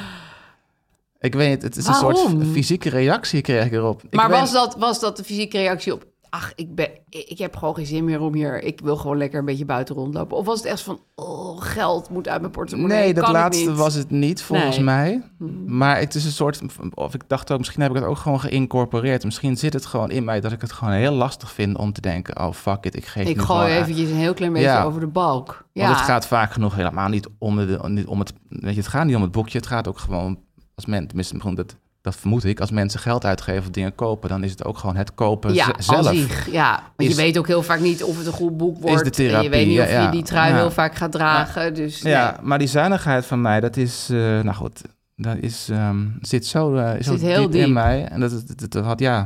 [SPEAKER 2] Ik weet niet, het is een soort
[SPEAKER 3] Waarom?
[SPEAKER 2] fysieke reactie kreeg ik erop. Ik
[SPEAKER 3] Maar
[SPEAKER 2] weet-
[SPEAKER 3] was, dat, was dat de fysieke reactie op... Ach, ik, ben, ik ik heb gewoon geen zin meer om hier... Ik wil gewoon lekker een beetje buiten rondlopen. Of was het echt van... Oh, geld moet uit mijn portemonnee.
[SPEAKER 2] Nee, dat
[SPEAKER 3] kan ik
[SPEAKER 2] laatste
[SPEAKER 3] niet.
[SPEAKER 2] was het niet volgens
[SPEAKER 3] Nee. Mm-hmm.
[SPEAKER 2] mij. Maar het is een soort. Of ik dacht ook, misschien heb ik het ook gewoon geïncorporeerd. Misschien zit het gewoon in mij dat ik het gewoon heel lastig vind om te denken: oh fuck it, ik geef
[SPEAKER 3] Ik
[SPEAKER 2] nu
[SPEAKER 3] gooi
[SPEAKER 2] gewoon aan.
[SPEAKER 3] eventjes een heel klein beetje
[SPEAKER 2] Ja.
[SPEAKER 3] over de balk. Ja.
[SPEAKER 2] Want het gaat vaak genoeg helemaal niet om, de, niet om het. Weet je, het gaat niet om het boekje. Het gaat ook gewoon. Als men, tenminste, gewoon dat, dat vermoed ik. Als mensen geld uitgeven of dingen kopen, dan is het ook gewoon het kopen
[SPEAKER 3] ja,
[SPEAKER 2] z- zelf.
[SPEAKER 3] als ich, ja, want
[SPEAKER 2] Is-
[SPEAKER 3] je weet ook heel vaak niet of het een goed boek wordt.
[SPEAKER 2] de
[SPEAKER 3] en je weet
[SPEAKER 2] therapie,
[SPEAKER 3] niet of
[SPEAKER 2] ja,
[SPEAKER 3] je
[SPEAKER 2] ja.
[SPEAKER 3] die trui
[SPEAKER 2] Ja.
[SPEAKER 3] heel vaak gaat dragen. Dus
[SPEAKER 2] Ja, maar die zuinigheid van mij, dat is, eh, nou goed, dat is, ehm, zit zo, eh, zo
[SPEAKER 3] Zit heel diep.
[SPEAKER 2] in mij. En dat, dat, dat- dat had, ja,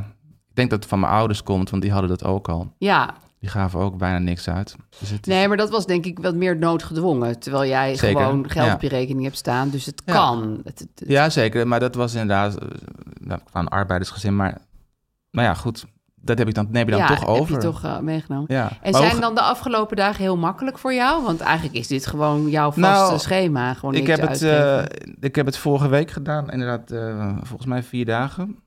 [SPEAKER 2] ik denk dat het van mijn ouders komt, want die hadden dat ook al.
[SPEAKER 3] nee. ja,
[SPEAKER 2] Die gaven ook bijna niks uit. Dus het is-
[SPEAKER 3] nee, maar dat was denk ik wat meer noodgedwongen. Terwijl jij
[SPEAKER 2] Zeker,
[SPEAKER 3] gewoon geld
[SPEAKER 2] ja.
[SPEAKER 3] op je rekening hebt staan. Dus het
[SPEAKER 2] Ja.
[SPEAKER 3] kan. Het, het- het-
[SPEAKER 2] Ja, zeker, maar dat was inderdaad, eh, nou, ik kwam een arbeidersgezin, maar, nou ja, goed, dat heb ik dan, neem je dan
[SPEAKER 3] ja,
[SPEAKER 2] toch over.
[SPEAKER 3] heb je toch eh, meegenomen.
[SPEAKER 2] ja.
[SPEAKER 3] En
[SPEAKER 2] Maar hoe
[SPEAKER 3] zijn
[SPEAKER 2] ge-
[SPEAKER 3] dan de afgelopen dagen heel makkelijk voor jou? Want eigenlijk is dit gewoon jouw vaste
[SPEAKER 2] Nou,
[SPEAKER 3] schema. Gewoon
[SPEAKER 2] Ik
[SPEAKER 3] niks
[SPEAKER 2] heb, het,
[SPEAKER 3] uitgeven.
[SPEAKER 2] eh, ik heb het vorige week gedaan, inderdaad, eh, volgens mij vier dagen.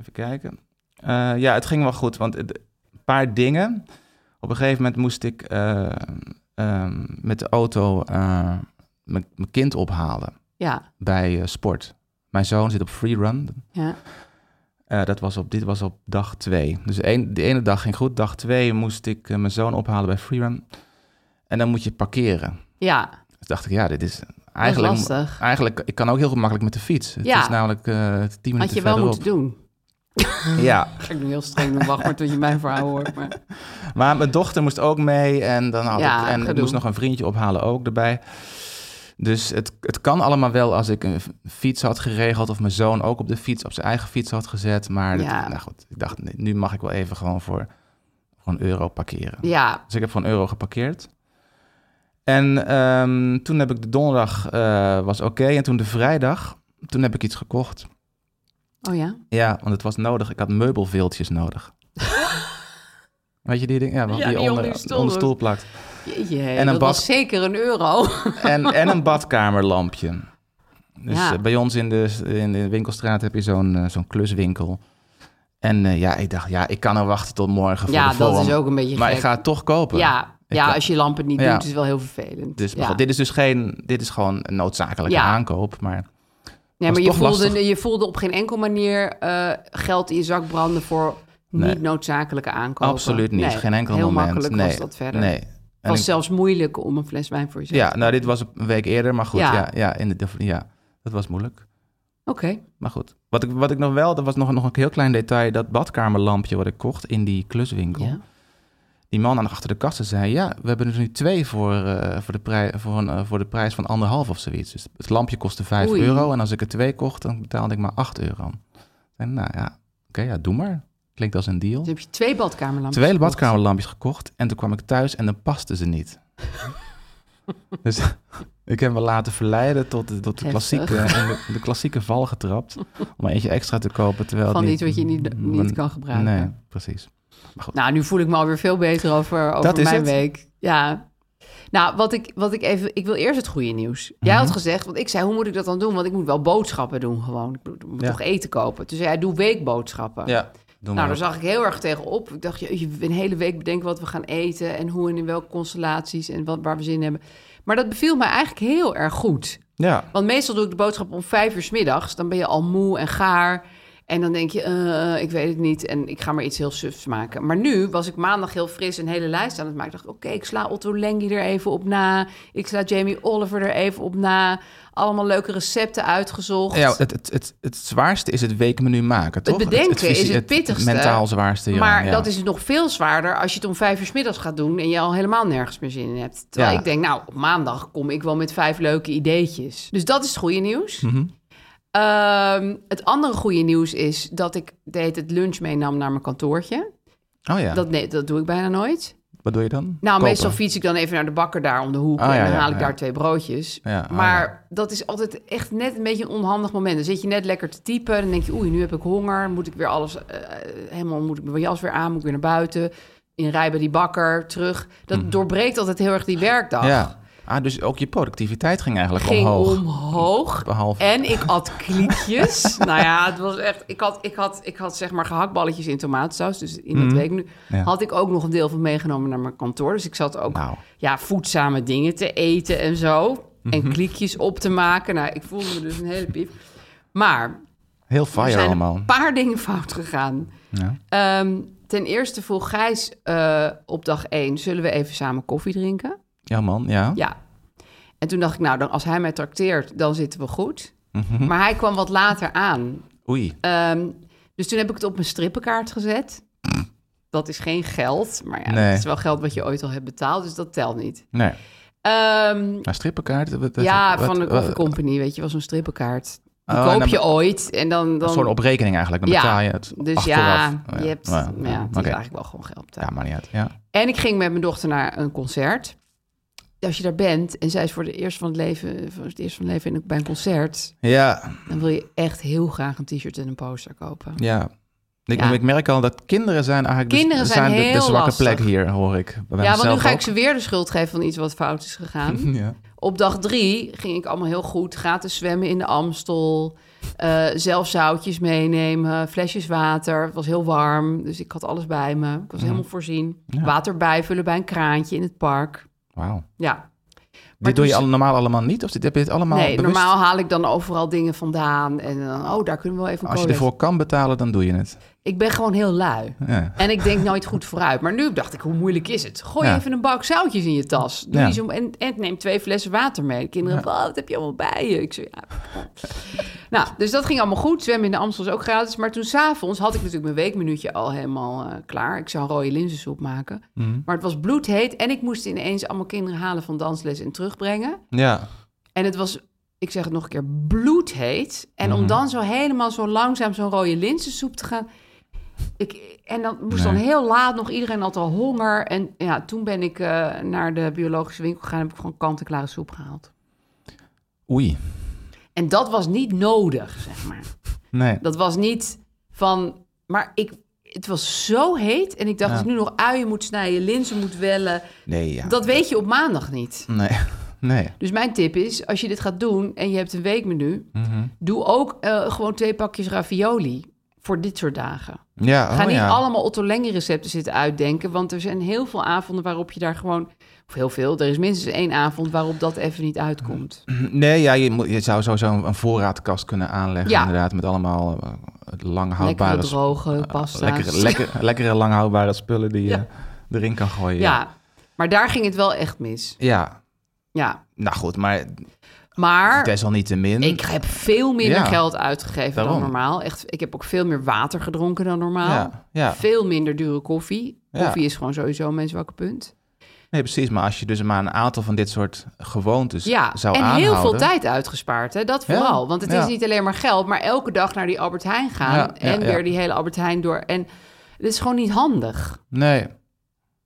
[SPEAKER 2] Even kijken. Eh, ja, het ging wel goed, want het- een paar dingen. Op een gegeven moment moest ik eh, ehm, met de auto eh, mijn mijn kind ophalen
[SPEAKER 3] ja,
[SPEAKER 2] bij eh, sport. Mijn zoon zit op freerun.
[SPEAKER 3] ja,
[SPEAKER 2] Eh, dat was op, dit was op dag twee. Dus één- de ene dag ging goed. Dag twee moest ik eh, mijn zoon ophalen bij freerun. En dan moet je parkeren.
[SPEAKER 3] ja.
[SPEAKER 2] Dus dacht ik, ja, dit is
[SPEAKER 3] Dat is
[SPEAKER 2] eigenlijk...
[SPEAKER 3] lastig.
[SPEAKER 2] Eigenlijk, ik kan ook heel goed makkelijk met de fiets. Het
[SPEAKER 3] Ja.
[SPEAKER 2] is namelijk eh, tien minuten
[SPEAKER 3] Had je wel
[SPEAKER 2] verderop.
[SPEAKER 3] moeten doen.
[SPEAKER 2] Ja,
[SPEAKER 3] Ga ik nu heel streng doen. Wacht maar tot je mijn verhaal hoort. Maar...
[SPEAKER 2] maar mijn dochter moest ook mee en dan had
[SPEAKER 3] Ja,
[SPEAKER 2] ik, en ik
[SPEAKER 3] gedoe.
[SPEAKER 2] moest nog een vriendje ophalen ook erbij. Dus het, het kan allemaal wel als ik een f- fiets had geregeld of mijn zoon ook op de fiets, op zijn eigen fiets had gezet. Maar dat-
[SPEAKER 3] Ja.
[SPEAKER 2] nou goed, ik dacht, nee, nu mag ik wel even gewoon voor, voor een euro parkeren.
[SPEAKER 3] Ja,
[SPEAKER 2] Dus ik heb voor een euro geparkeerd. En ehm, toen heb ik de donderdag, eh, was oké. En toen de vrijdag, toen heb ik iets gekocht.
[SPEAKER 3] oh ja.
[SPEAKER 2] Ja, want het was nodig. Ik had meubelveeltjes
[SPEAKER 3] [laughs]
[SPEAKER 2] nodig. Weet je die ding? Ja, wat
[SPEAKER 3] Ja, die
[SPEAKER 2] die, onder,
[SPEAKER 3] onder je stoel
[SPEAKER 2] onder de stoel
[SPEAKER 3] doet.
[SPEAKER 2] plakt.
[SPEAKER 3] Jeetje,
[SPEAKER 2] een
[SPEAKER 3] dat
[SPEAKER 2] bad-
[SPEAKER 3] was zeker een euro.
[SPEAKER 2] En, en een badkamerlampje. Dus
[SPEAKER 3] Ja.
[SPEAKER 2] eh, bij ons in de, in de winkelstraat heb je zo'n eh, zo'n kluswinkel. En eh, ja, ik dacht, ja, ik kan er wachten tot morgen voor
[SPEAKER 3] ja,
[SPEAKER 2] de vorm.
[SPEAKER 3] dat is ook een beetje
[SPEAKER 2] Maar
[SPEAKER 3] gek.
[SPEAKER 2] ik ga het toch kopen.
[SPEAKER 3] ja,
[SPEAKER 2] Ik
[SPEAKER 3] ja,
[SPEAKER 2] kan-
[SPEAKER 3] als je lampen niet
[SPEAKER 2] Ja.
[SPEAKER 3] doet, is het wel heel vervelend.
[SPEAKER 2] Dus maar
[SPEAKER 3] ja.
[SPEAKER 2] goed, dit is dus geen, dit is gewoon een noodzakelijke
[SPEAKER 3] Ja.
[SPEAKER 2] aankoop. Maar
[SPEAKER 3] nee, maar
[SPEAKER 2] was
[SPEAKER 3] je
[SPEAKER 2] toch
[SPEAKER 3] voelde,
[SPEAKER 2] lastig.
[SPEAKER 3] je voelde op geen enkel manier eh, geld in je zak branden voor
[SPEAKER 2] Nee.
[SPEAKER 3] niet noodzakelijke aankopen.
[SPEAKER 2] absoluut niet.
[SPEAKER 3] Nee,
[SPEAKER 2] geen enkel
[SPEAKER 3] heel
[SPEAKER 2] moment.
[SPEAKER 3] makkelijk
[SPEAKER 2] nee.
[SPEAKER 3] was dat verder.
[SPEAKER 2] Nee.
[SPEAKER 3] Het
[SPEAKER 2] En
[SPEAKER 3] was
[SPEAKER 2] ik-
[SPEAKER 3] zelfs moeilijk om een fles wijn voor jezelf
[SPEAKER 2] Ja,
[SPEAKER 3] te
[SPEAKER 2] nou, dit
[SPEAKER 3] kopen.
[SPEAKER 2] was een week eerder, maar goed.
[SPEAKER 3] Ja.
[SPEAKER 2] Ja, ja, in de, ja dat was moeilijk.
[SPEAKER 3] Oké,
[SPEAKER 2] Maar goed. Wat ik, wat ik nog wel, er was nog, nog een heel klein detail. Dat badkamerlampje wat ik kocht in die kluswinkel.
[SPEAKER 3] ja.
[SPEAKER 2] die man aan achter de kast en zei... ja, we hebben er nu twee voor, eh, voor, de, prij- voor, een, eh, voor de prijs van anderhalf of zoiets. Dus het lampje kostte 5
[SPEAKER 3] Oei.
[SPEAKER 2] euro en als ik er twee kocht, dan betaalde ik maar 8 euro. En nou ja, oké, ja, doe maar. Klinkt als een deal.
[SPEAKER 3] Dus heb je twee badkamerlampjes.
[SPEAKER 2] Twee
[SPEAKER 3] gekocht.
[SPEAKER 2] badkamerlampjes gekocht en toen kwam ik thuis en dan pasten ze
[SPEAKER 3] [laughs]
[SPEAKER 2] niet. dus ik heb me laten verleiden tot de, tot de,
[SPEAKER 3] Heftig.
[SPEAKER 2] klassieke, in de, de klassieke val getrapt. Om er eentje extra te kopen. Terwijl het
[SPEAKER 3] Van
[SPEAKER 2] niet,
[SPEAKER 3] iets wat je niet, niet kan gebruiken.
[SPEAKER 2] Nee, precies.
[SPEAKER 3] Nou, nu voel ik me alweer veel beter over, over
[SPEAKER 2] Dat is
[SPEAKER 3] mijn
[SPEAKER 2] het.
[SPEAKER 3] week. Ja. Nou, wat ik, wat ik even... Ik wil eerst het goede nieuws. Jij
[SPEAKER 2] Mhm.
[SPEAKER 3] had gezegd, want ik zei, hoe moet ik dat dan doen? Want ik moet wel boodschappen doen gewoon. Ik moet- moet
[SPEAKER 2] Ja.
[SPEAKER 3] toch eten kopen. Toen zei hij, doe weekboodschappen.
[SPEAKER 2] doe
[SPEAKER 3] nou, daar zag ik heel erg tegenop. Ik dacht, je, een hele week bedenken wat we gaan eten... en hoe en in welke constellaties en wat, waar we zin in hebben. Maar dat beviel mij eigenlijk heel erg goed.
[SPEAKER 2] Ja,
[SPEAKER 3] Want meestal doe ik de boodschap om vijf uur 's middags. Dan ben je al moe en gaar. En dan denk je, eh, ik weet het niet. En ik ga maar iets heel sufs maken. Maar nu was ik maandag heel fris een hele lijst aan het maken. Ik dacht, oké, ik sla Otto Lengi er even op na. Ik sla Jamie Oliver er even op na. Allemaal leuke recepten uitgezocht.
[SPEAKER 2] ja het, het, het, het zwaarste is het weekmenu maken, toch?
[SPEAKER 3] bedenken is
[SPEAKER 2] fysi-
[SPEAKER 3] het pittigste.
[SPEAKER 2] mentaal zwaarste, ja.
[SPEAKER 3] maar
[SPEAKER 2] ja.
[SPEAKER 3] dat is nog veel zwaarder als je het om vijf uur 's middags gaat doen... en je al helemaal nergens meer zin in hebt. Terwijl
[SPEAKER 2] Ja.
[SPEAKER 3] ik denk, nou, op maandag kom ik wel met vijf leuke ideetjes. Dus dat is het goede nieuws.
[SPEAKER 2] Mhm.
[SPEAKER 3] Ehm, het andere goede nieuws is dat ik deed het lunch meenam naar mijn kantoortje.
[SPEAKER 2] Oh ja,
[SPEAKER 3] Dat, nee, dat doe ik bijna nooit.
[SPEAKER 2] wat doe je dan?
[SPEAKER 3] Nou,
[SPEAKER 2] Kopen.
[SPEAKER 3] meestal fiets ik dan even naar de bakker daar om de hoek
[SPEAKER 2] Ah,
[SPEAKER 3] en
[SPEAKER 2] ja,
[SPEAKER 3] dan
[SPEAKER 2] ja,
[SPEAKER 3] haal ik
[SPEAKER 2] ja.
[SPEAKER 3] daar twee broodjes.
[SPEAKER 2] Ja, ah,
[SPEAKER 3] maar
[SPEAKER 2] ja.
[SPEAKER 3] dat is altijd echt net een beetje een onhandig moment. Dan zit je net lekker te typen, dan denk je, oei, nu heb ik honger, moet ik weer alles eh, helemaal, moet ik mijn jas weer aan, moet ik weer naar buiten, in rij bij die bakker, terug. Dat doorbreekt altijd heel erg die werkdag.
[SPEAKER 2] Mhm. Ja. Ah, dus ook je productiviteit ging eigenlijk
[SPEAKER 3] Ging
[SPEAKER 2] omhoog.
[SPEAKER 3] omhoog.
[SPEAKER 2] Behalve-
[SPEAKER 3] En ik at
[SPEAKER 2] [laughs]
[SPEAKER 3] kliekjes. nou ja, het was echt. Ik had, ik had, ik had zeg maar gehaktballetjes in tomatensaus. Dus in dat week nu
[SPEAKER 2] Mhm. Ja.
[SPEAKER 3] had ik ook nog een deel van meegenomen naar mijn kantoor. Dus ik zat ook
[SPEAKER 2] Nou.
[SPEAKER 3] ja, voedzame dingen te eten en zo. En
[SPEAKER 2] Mhm.
[SPEAKER 3] kliekjes op te maken. Nou, ik voelde me dus een hele piep. Maar
[SPEAKER 2] Heel
[SPEAKER 3] er
[SPEAKER 2] fire
[SPEAKER 3] zijn
[SPEAKER 2] allemaal.
[SPEAKER 3] een paar dingen fout gegaan. Ehm, ten eerste vroeg Gijs eh, op dag één... zullen we even samen koffie drinken?
[SPEAKER 2] Ja man, ja.
[SPEAKER 3] Ja. En toen dacht ik, nou, dan, als hij mij trakteert, dan zitten we goed.
[SPEAKER 2] Mhm.
[SPEAKER 3] Maar hij kwam wat later aan.
[SPEAKER 2] Oei.
[SPEAKER 3] Ehm, dus toen heb ik het op mijn strippenkaart gezet. Dat is geen geld, maar ja,
[SPEAKER 2] Nee.
[SPEAKER 3] dat is wel geld wat je ooit al hebt betaald, dus dat telt niet.
[SPEAKER 2] Nee.
[SPEAKER 3] Ehm,
[SPEAKER 2] Maar strippenkaart? Wat- wat-
[SPEAKER 3] ja,
[SPEAKER 2] wat-
[SPEAKER 3] van de
[SPEAKER 2] wat-
[SPEAKER 3] coffee company, weet je, was zo'n strippenkaart. Die
[SPEAKER 2] Oh, en
[SPEAKER 3] koop
[SPEAKER 2] dan
[SPEAKER 3] je
[SPEAKER 2] be-
[SPEAKER 3] ooit en dan... dan
[SPEAKER 2] Een soort oprekening eigenlijk. Dan
[SPEAKER 3] ja,
[SPEAKER 2] betaal je het
[SPEAKER 3] Dus
[SPEAKER 2] achteraf.
[SPEAKER 3] ja,
[SPEAKER 2] Oh
[SPEAKER 3] je hebt...
[SPEAKER 2] Oh
[SPEAKER 3] Ja, het is
[SPEAKER 2] Oké.
[SPEAKER 3] eigenlijk wel gewoon geld betalen.
[SPEAKER 2] Ja, maar niet uit. Ja.
[SPEAKER 3] En ik ging met mijn dochter naar een concert. Als je daar bent en zij is voor, de eerst van het leven, voor het eerst van het leven in- bij een concert,
[SPEAKER 2] Ja,
[SPEAKER 3] dan wil je echt heel graag een t-shirt en een poster kopen.
[SPEAKER 2] ja. Ik,
[SPEAKER 3] Ja.
[SPEAKER 2] ik merk al dat kinderen zijn eigenlijk de-
[SPEAKER 3] Kinderen zijn
[SPEAKER 2] de, de
[SPEAKER 3] heel
[SPEAKER 2] zwakke
[SPEAKER 3] lastig.
[SPEAKER 2] plek hier, hoor ik. Bij
[SPEAKER 3] ja, want nu
[SPEAKER 2] mezelf
[SPEAKER 3] ga
[SPEAKER 2] ook.
[SPEAKER 3] ik ze weer de schuld geven van iets wat fout is
[SPEAKER 2] [laughs]
[SPEAKER 3] gegaan.
[SPEAKER 2] Ja.
[SPEAKER 3] Op dag drie ging ik allemaal heel goed. Gratis zwemmen in de Amstel. eh, zelf zoutjes meenemen. Flesjes water. Het was heel warm. Dus ik had alles bij me. Ik was helemaal voorzien. Water bijvullen bij een kraantje in het park.
[SPEAKER 2] Wauw.
[SPEAKER 3] Ja,
[SPEAKER 2] Dit doe je
[SPEAKER 3] toen
[SPEAKER 2] al, normaal allemaal niet? Of dit, heb je dit allemaal
[SPEAKER 3] dus- nee,
[SPEAKER 2] bewust?
[SPEAKER 3] normaal haal ik dan overal dingen vandaan. En dan, oh, daar kunnen we wel even een
[SPEAKER 2] Als je
[SPEAKER 3] cola
[SPEAKER 2] ervoor kan betalen, dan doe je het.
[SPEAKER 3] Ik ben gewoon heel lui.
[SPEAKER 2] Ja.
[SPEAKER 3] En ik denk nooit goed vooruit. Maar nu dacht ik, hoe moeilijk is het? Gooi
[SPEAKER 2] Ja.
[SPEAKER 3] even een bak zoutjes in je tas. Doe
[SPEAKER 2] Ja.
[SPEAKER 3] die zo, en, en neem twee flessen water mee. De kinderen, van, wat heb je allemaal bij je? Ik zei, ja. nou, dus dat ging allemaal goed. Zwemmen in de Amstel is ook gratis. Maar toen s'avonds had ik natuurlijk mijn weekminuutje al helemaal eh, klaar. Ik zou een rode linzensoep maken.
[SPEAKER 2] Mhm.
[SPEAKER 3] Maar het was bloedheet. En ik moest ineens allemaal kinderen halen van dansles en terugbrengen.
[SPEAKER 2] Ja.
[SPEAKER 3] En het was, ik zeg het nog een keer, bloedheet. En om dan zo helemaal zo langzaam zo'n rode linzensoep te gaan. Ik, en dan moest dan heel laat nog, iedereen had al honger. En ja, toen ben ik eh, naar de biologische winkel gegaan en heb ik gewoon kant-en-klare soep gehaald.
[SPEAKER 2] Oei.
[SPEAKER 3] En dat was niet nodig, zeg maar.
[SPEAKER 2] Nee.
[SPEAKER 3] Dat was niet van, maar ik, het was zo heet. En ik dacht, als ik nu nog uien moet snijden, linzen moet wellen.
[SPEAKER 2] Nee, ja.
[SPEAKER 3] Dat weet je op maandag niet.
[SPEAKER 2] Nee. Nee.
[SPEAKER 3] Dus mijn tip is, als je dit gaat doen en je hebt een weekmenu,
[SPEAKER 2] Mhm.
[SPEAKER 3] doe ook eh, gewoon twee pakjes ravioli voor dit soort dagen.
[SPEAKER 2] Ja, oh
[SPEAKER 3] Ga niet
[SPEAKER 2] ja.
[SPEAKER 3] allemaal Otto Lengi recepten zitten uitdenken, want er zijn heel veel avonden waarop je daar gewoon, of heel veel, er is minstens één avond waarop dat even niet uitkomt.
[SPEAKER 2] Nee, ja, je, moet, je zou sowieso een, een voorraadkast kunnen aanleggen.
[SPEAKER 3] Ja.
[SPEAKER 2] Inderdaad, met allemaal eh, lang
[SPEAKER 3] Lekkere
[SPEAKER 2] houdbare... sp-
[SPEAKER 3] droge pasta's.
[SPEAKER 2] lekkere, Ah,
[SPEAKER 3] [laughs]
[SPEAKER 2] lekker, lekkere lang houdbare spullen die
[SPEAKER 3] Ja.
[SPEAKER 2] je erin kan gooien.
[SPEAKER 3] Ja, maar daar ging het wel echt mis.
[SPEAKER 2] Ja.
[SPEAKER 3] Ja,
[SPEAKER 2] Nou goed, maar
[SPEAKER 3] maar...
[SPEAKER 2] desalniettemin...
[SPEAKER 3] Ik heb veel minder
[SPEAKER 2] Ja.
[SPEAKER 3] geld uitgegeven
[SPEAKER 2] Daarom.
[SPEAKER 3] dan normaal. Echt, ik heb ook veel meer water gedronken dan normaal.
[SPEAKER 2] Ja, ja.
[SPEAKER 3] Veel minder dure koffie.
[SPEAKER 2] Ja.
[SPEAKER 3] Koffie is gewoon sowieso een menswakker punt.
[SPEAKER 2] Nee, precies. Maar als je dus maar een aantal van dit soort gewoontes
[SPEAKER 3] Ja,
[SPEAKER 2] zou
[SPEAKER 3] en
[SPEAKER 2] aanhouden...
[SPEAKER 3] heel veel tijd uitgespaard, hè? dat
[SPEAKER 2] Ja,
[SPEAKER 3] vooral. Want het
[SPEAKER 2] ja.
[SPEAKER 3] is niet alleen maar geld, maar elke dag naar die Albert Heijn gaan...
[SPEAKER 2] Ja, ja,
[SPEAKER 3] en
[SPEAKER 2] ja.
[SPEAKER 3] weer die hele Albert Heijn door. En dat is gewoon niet handig.
[SPEAKER 2] Nee,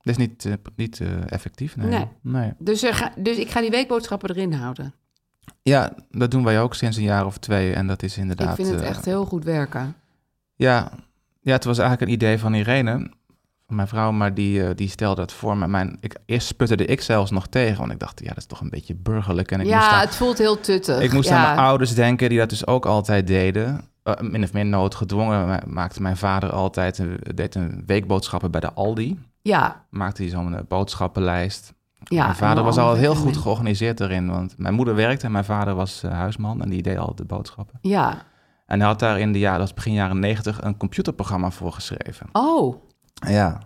[SPEAKER 2] dat is niet, eh, niet eh, effectief. Nee.
[SPEAKER 3] Nee.
[SPEAKER 2] Nee.
[SPEAKER 3] Dus, er ga- dus ik ga die weekboodschappen erin houden.
[SPEAKER 2] Ja, dat doen wij ook sinds een jaar of twee. En dat is inderdaad...
[SPEAKER 3] ik vind het
[SPEAKER 2] eh,
[SPEAKER 3] echt heel goed werken.
[SPEAKER 2] Ja, ja, het was eigenlijk een idee van Irene, van mijn vrouw, maar die, eh, die stelde het voor. Maar mijn, ik, eerst sputterde ik zelfs nog tegen, want ik dacht, ja, dat is toch een beetje burgerlijk. En ik moest,
[SPEAKER 3] Ja,
[SPEAKER 2] aan,
[SPEAKER 3] het voelt heel tuttig.
[SPEAKER 2] ik moest
[SPEAKER 3] ja.
[SPEAKER 2] aan mijn ouders denken, die dat dus ook altijd deden. Eh, min of meer noodgedwongen Ma- maakte mijn vader altijd, een, deed een weekboodschappen bij de Aldi.
[SPEAKER 3] Ja,
[SPEAKER 2] Maakte hij zo'n eh, boodschappenlijst.
[SPEAKER 3] ja.
[SPEAKER 2] mijn vader was al heel goed
[SPEAKER 3] geholpen.
[SPEAKER 2] georganiseerd erin, want mijn moeder werkte en mijn vader was eh, huisman en die deed al de boodschappen.
[SPEAKER 3] Ja.
[SPEAKER 2] En hij had daar in de jaren, dat was begin jaren negentig, een computerprogramma voor geschreven.
[SPEAKER 3] Oh,
[SPEAKER 2] Ja,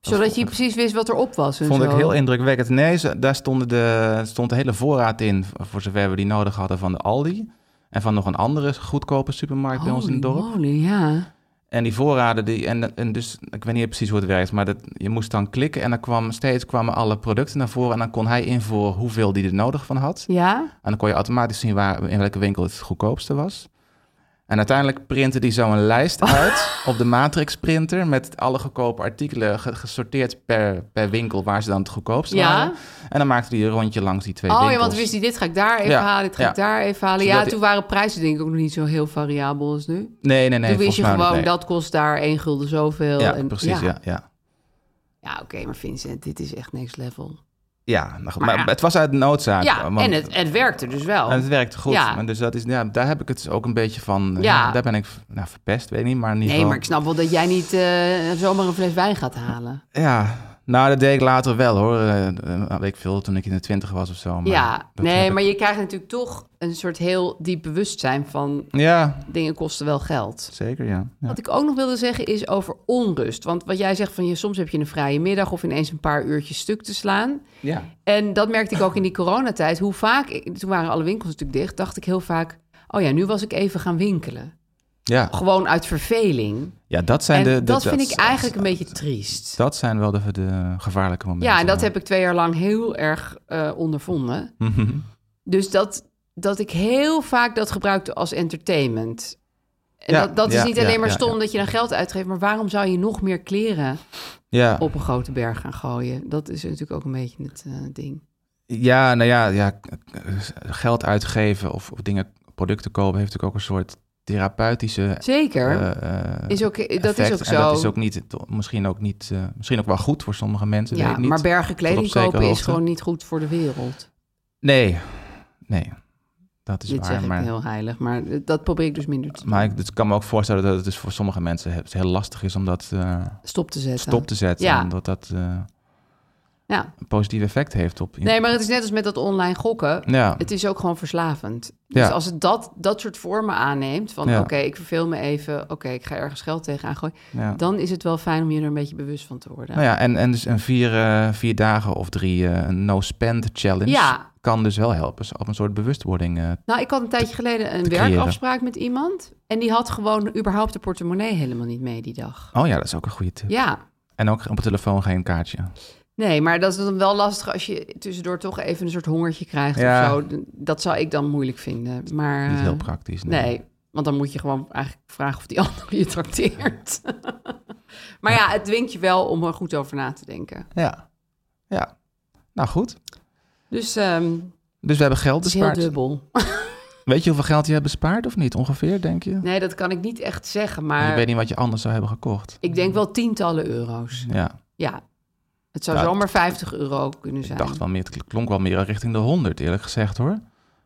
[SPEAKER 3] zodat je precies wist wat erop was en
[SPEAKER 2] Vond ik
[SPEAKER 3] zo.
[SPEAKER 2] heel indrukwekkend. Nee, ze- daar stonden de, stond de hele voorraad in, v- voor zover we die nodig hadden, van de Aldi. En van nog een andere goedkope supermarkt bij ons in het
[SPEAKER 3] Holy
[SPEAKER 2] dorp.
[SPEAKER 3] moly, ja.
[SPEAKER 2] En die voorraden, die, en, en dus, ik weet niet precies hoe het werkt, maar dat, je moest dan klikken en dan kwam, steeds kwamen alle producten naar voren. En dan kon hij invoeren hoeveel die er nodig van had.
[SPEAKER 3] Ja?
[SPEAKER 2] En dan kon je automatisch zien waar, in welke winkel het het goedkoopste was. En uiteindelijk printte die zo een
[SPEAKER 3] [laughs]
[SPEAKER 2] lijst uit op de matrixprinter met alle goedkope artikelen ge- gesorteerd per, per winkel waar ze dan het goedkoopst
[SPEAKER 3] Ja.
[SPEAKER 2] waren. En dan maakte hij een rondje langs die twee
[SPEAKER 3] Oh ja,
[SPEAKER 2] winkels.
[SPEAKER 3] want dan wist hij, dit ga ik daar even
[SPEAKER 2] Ja,
[SPEAKER 3] halen, dit ga
[SPEAKER 2] ja.
[SPEAKER 3] ik daar even halen. Ja,
[SPEAKER 2] Zodat hij-
[SPEAKER 3] toen waren prijzen denk ik ook nog niet zo heel variabel als nu.
[SPEAKER 2] Nee, nee, nee.
[SPEAKER 3] toen wist
[SPEAKER 2] volgens
[SPEAKER 3] je
[SPEAKER 2] mij
[SPEAKER 3] gewoon,
[SPEAKER 2] niet, nee.
[SPEAKER 3] dat kost daar 1 gulden zoveel.
[SPEAKER 2] Ja,
[SPEAKER 3] en-
[SPEAKER 2] precies, ja. ja.
[SPEAKER 3] Ja, oké, maar Vincent, dit is echt next level.
[SPEAKER 2] Ja, nou goed,
[SPEAKER 3] Maar
[SPEAKER 2] maar,
[SPEAKER 3] ja.
[SPEAKER 2] het was uit noodzaak.
[SPEAKER 3] Ja,
[SPEAKER 2] want-
[SPEAKER 3] en het, het werkte dus wel.
[SPEAKER 2] en het werkte goed.
[SPEAKER 3] Ja.
[SPEAKER 2] En dus dat is, ja, daar heb ik het dus ook een beetje van... eh,
[SPEAKER 3] Ja.
[SPEAKER 2] Daar ben ik nou, verpest, weet ik niet, maar in ieder
[SPEAKER 3] Nee,
[SPEAKER 2] geval...
[SPEAKER 3] maar ik snap wel dat jij niet eh, zomaar een fles wijn gaat halen.
[SPEAKER 2] Ja, nou dat deed ik later wel hoor. Eh, eh, weet ik veel, toen ik in de twintig was of zo. Maar
[SPEAKER 3] ja,
[SPEAKER 2] dat heb
[SPEAKER 3] nee,
[SPEAKER 2] ik-
[SPEAKER 3] maar je krijgt natuurlijk toch een soort heel diep bewustzijn van
[SPEAKER 2] Ja,
[SPEAKER 3] dingen kosten wel geld.
[SPEAKER 2] zeker ja. ja.
[SPEAKER 3] Wat ik ook nog wilde zeggen is over onrust. Want wat jij zegt van je, soms heb je een vrije middag of ineens een paar uurtjes stuk te slaan.
[SPEAKER 2] Ja.
[SPEAKER 3] En dat merkte ik ook in die coronatijd. Hoe vaak, ik- toen waren alle winkels natuurlijk dicht, dacht ik heel vaak: oh ja, nu was ik even gaan winkelen.
[SPEAKER 2] Ja.
[SPEAKER 3] Gewoon uit verveling.
[SPEAKER 2] ja, dat zijn
[SPEAKER 3] en
[SPEAKER 2] de... de-
[SPEAKER 3] dat vind ik
[SPEAKER 2] is-
[SPEAKER 3] eigenlijk een beetje triest.
[SPEAKER 2] Dat zijn wel de, de gevaarlijke momenten.
[SPEAKER 3] Ja, en dat heb ik twee jaar lang heel erg eh, ondervonden.
[SPEAKER 2] Mhm.
[SPEAKER 3] Dus dat, dat ik heel vaak dat gebruikte als entertainment. En
[SPEAKER 2] Ja,
[SPEAKER 3] dat, dat is
[SPEAKER 2] ja,
[SPEAKER 3] niet
[SPEAKER 2] ja,
[SPEAKER 3] alleen maar
[SPEAKER 2] ja,
[SPEAKER 3] stom
[SPEAKER 2] ja.
[SPEAKER 3] dat je dan geld uitgeeft, maar waarom zou je nog meer kleren
[SPEAKER 2] Ja,
[SPEAKER 3] op een grote berg gaan gooien? Dat is natuurlijk ook een beetje het eh, ding.
[SPEAKER 2] ja nou ja, ja, k- k- geld uitgeven of, of dingen, producten kopen heeft natuurlijk ook een soort therapeutische...
[SPEAKER 3] Zeker.
[SPEAKER 2] eh, eh,
[SPEAKER 3] is ook, dat is
[SPEAKER 2] effect.
[SPEAKER 3] ook
[SPEAKER 2] En
[SPEAKER 3] zo.
[SPEAKER 2] dat is ook niet, misschien ook niet, eh, misschien ook wel goed voor sommige mensen. weet
[SPEAKER 3] ja,
[SPEAKER 2] ik niet.
[SPEAKER 3] maar bergen kleding
[SPEAKER 2] Tot op zekere
[SPEAKER 3] kopen is
[SPEAKER 2] hoogte.
[SPEAKER 3] gewoon niet goed voor de wereld.
[SPEAKER 2] Nee, nee, dat is
[SPEAKER 3] Dit
[SPEAKER 2] waar.
[SPEAKER 3] zeg ik
[SPEAKER 2] maar...
[SPEAKER 3] heel heilig, maar dat probeer ik dus minder te
[SPEAKER 2] Maar ik het kan me ook voorstellen dat het dus voor sommige mensen he- heel lastig is om dat eh,
[SPEAKER 3] stop te zetten.
[SPEAKER 2] stop te zetten.
[SPEAKER 3] Ja.
[SPEAKER 2] Omdat dat eh,
[SPEAKER 3] Ja.
[SPEAKER 2] een positief effect heeft op...
[SPEAKER 3] Nee, maar het is net als met dat online gokken.
[SPEAKER 2] Ja,
[SPEAKER 3] Het is ook gewoon verslavend.
[SPEAKER 2] Ja.
[SPEAKER 3] Dus als het dat, dat soort vormen aanneemt, van
[SPEAKER 2] Ja.
[SPEAKER 3] oké, ik verveel me even, oké, ik ga ergens geld tegenaan gooien,
[SPEAKER 2] ja.
[SPEAKER 3] dan is het wel fijn om je er een beetje bewust van te worden.
[SPEAKER 2] Nou ja, en, en dus een vier, eh, vier dagen of drie eh, een no-spend challenge
[SPEAKER 3] Ja.
[SPEAKER 2] kan dus wel helpen zo- op een soort bewustwording. eh.
[SPEAKER 3] Nou, ik had een tijdje geleden een
[SPEAKER 2] te creëren.
[SPEAKER 3] werkafspraak met iemand en die had gewoon überhaupt de portemonnee helemaal niet mee die dag.
[SPEAKER 2] oh ja, dat is ook een goede tip.
[SPEAKER 3] Ja,
[SPEAKER 2] En ook op de telefoon geen kaartje.
[SPEAKER 3] nee, maar dat is dan wel lastig als je tussendoor toch even een soort hongertje krijgt
[SPEAKER 2] Ja.
[SPEAKER 3] of zo. Dat zou ik dan moeilijk vinden, maar...
[SPEAKER 2] Niet heel
[SPEAKER 3] eh,
[SPEAKER 2] praktisch.
[SPEAKER 3] Nee. want dan moet je gewoon eigenlijk vragen of die [laughs] ander je trakteert. [laughs] maar ja, het dwingt je wel om er goed over na te denken.
[SPEAKER 2] Ja. ja, nou goed.
[SPEAKER 3] Dus ehm,
[SPEAKER 2] Dus we hebben geld
[SPEAKER 3] het is heel
[SPEAKER 2] bespaard.
[SPEAKER 3] dubbel.
[SPEAKER 2] Weet je hoeveel geld je hebt bespaard of niet? Ongeveer, denk je?
[SPEAKER 3] Nee, dat kan ik niet echt zeggen,
[SPEAKER 2] Ik
[SPEAKER 3] maar
[SPEAKER 2] weet niet wat je anders zou hebben gekocht.
[SPEAKER 3] ik denk wel tientallen euro's.
[SPEAKER 2] Ja.
[SPEAKER 3] Ja, het zou
[SPEAKER 2] Ja,
[SPEAKER 3] zomaar 50 euro kunnen
[SPEAKER 2] Ik
[SPEAKER 3] zijn.
[SPEAKER 2] dacht wel meer, het klonk wel meer richting de 100, eerlijk gezegd hoor.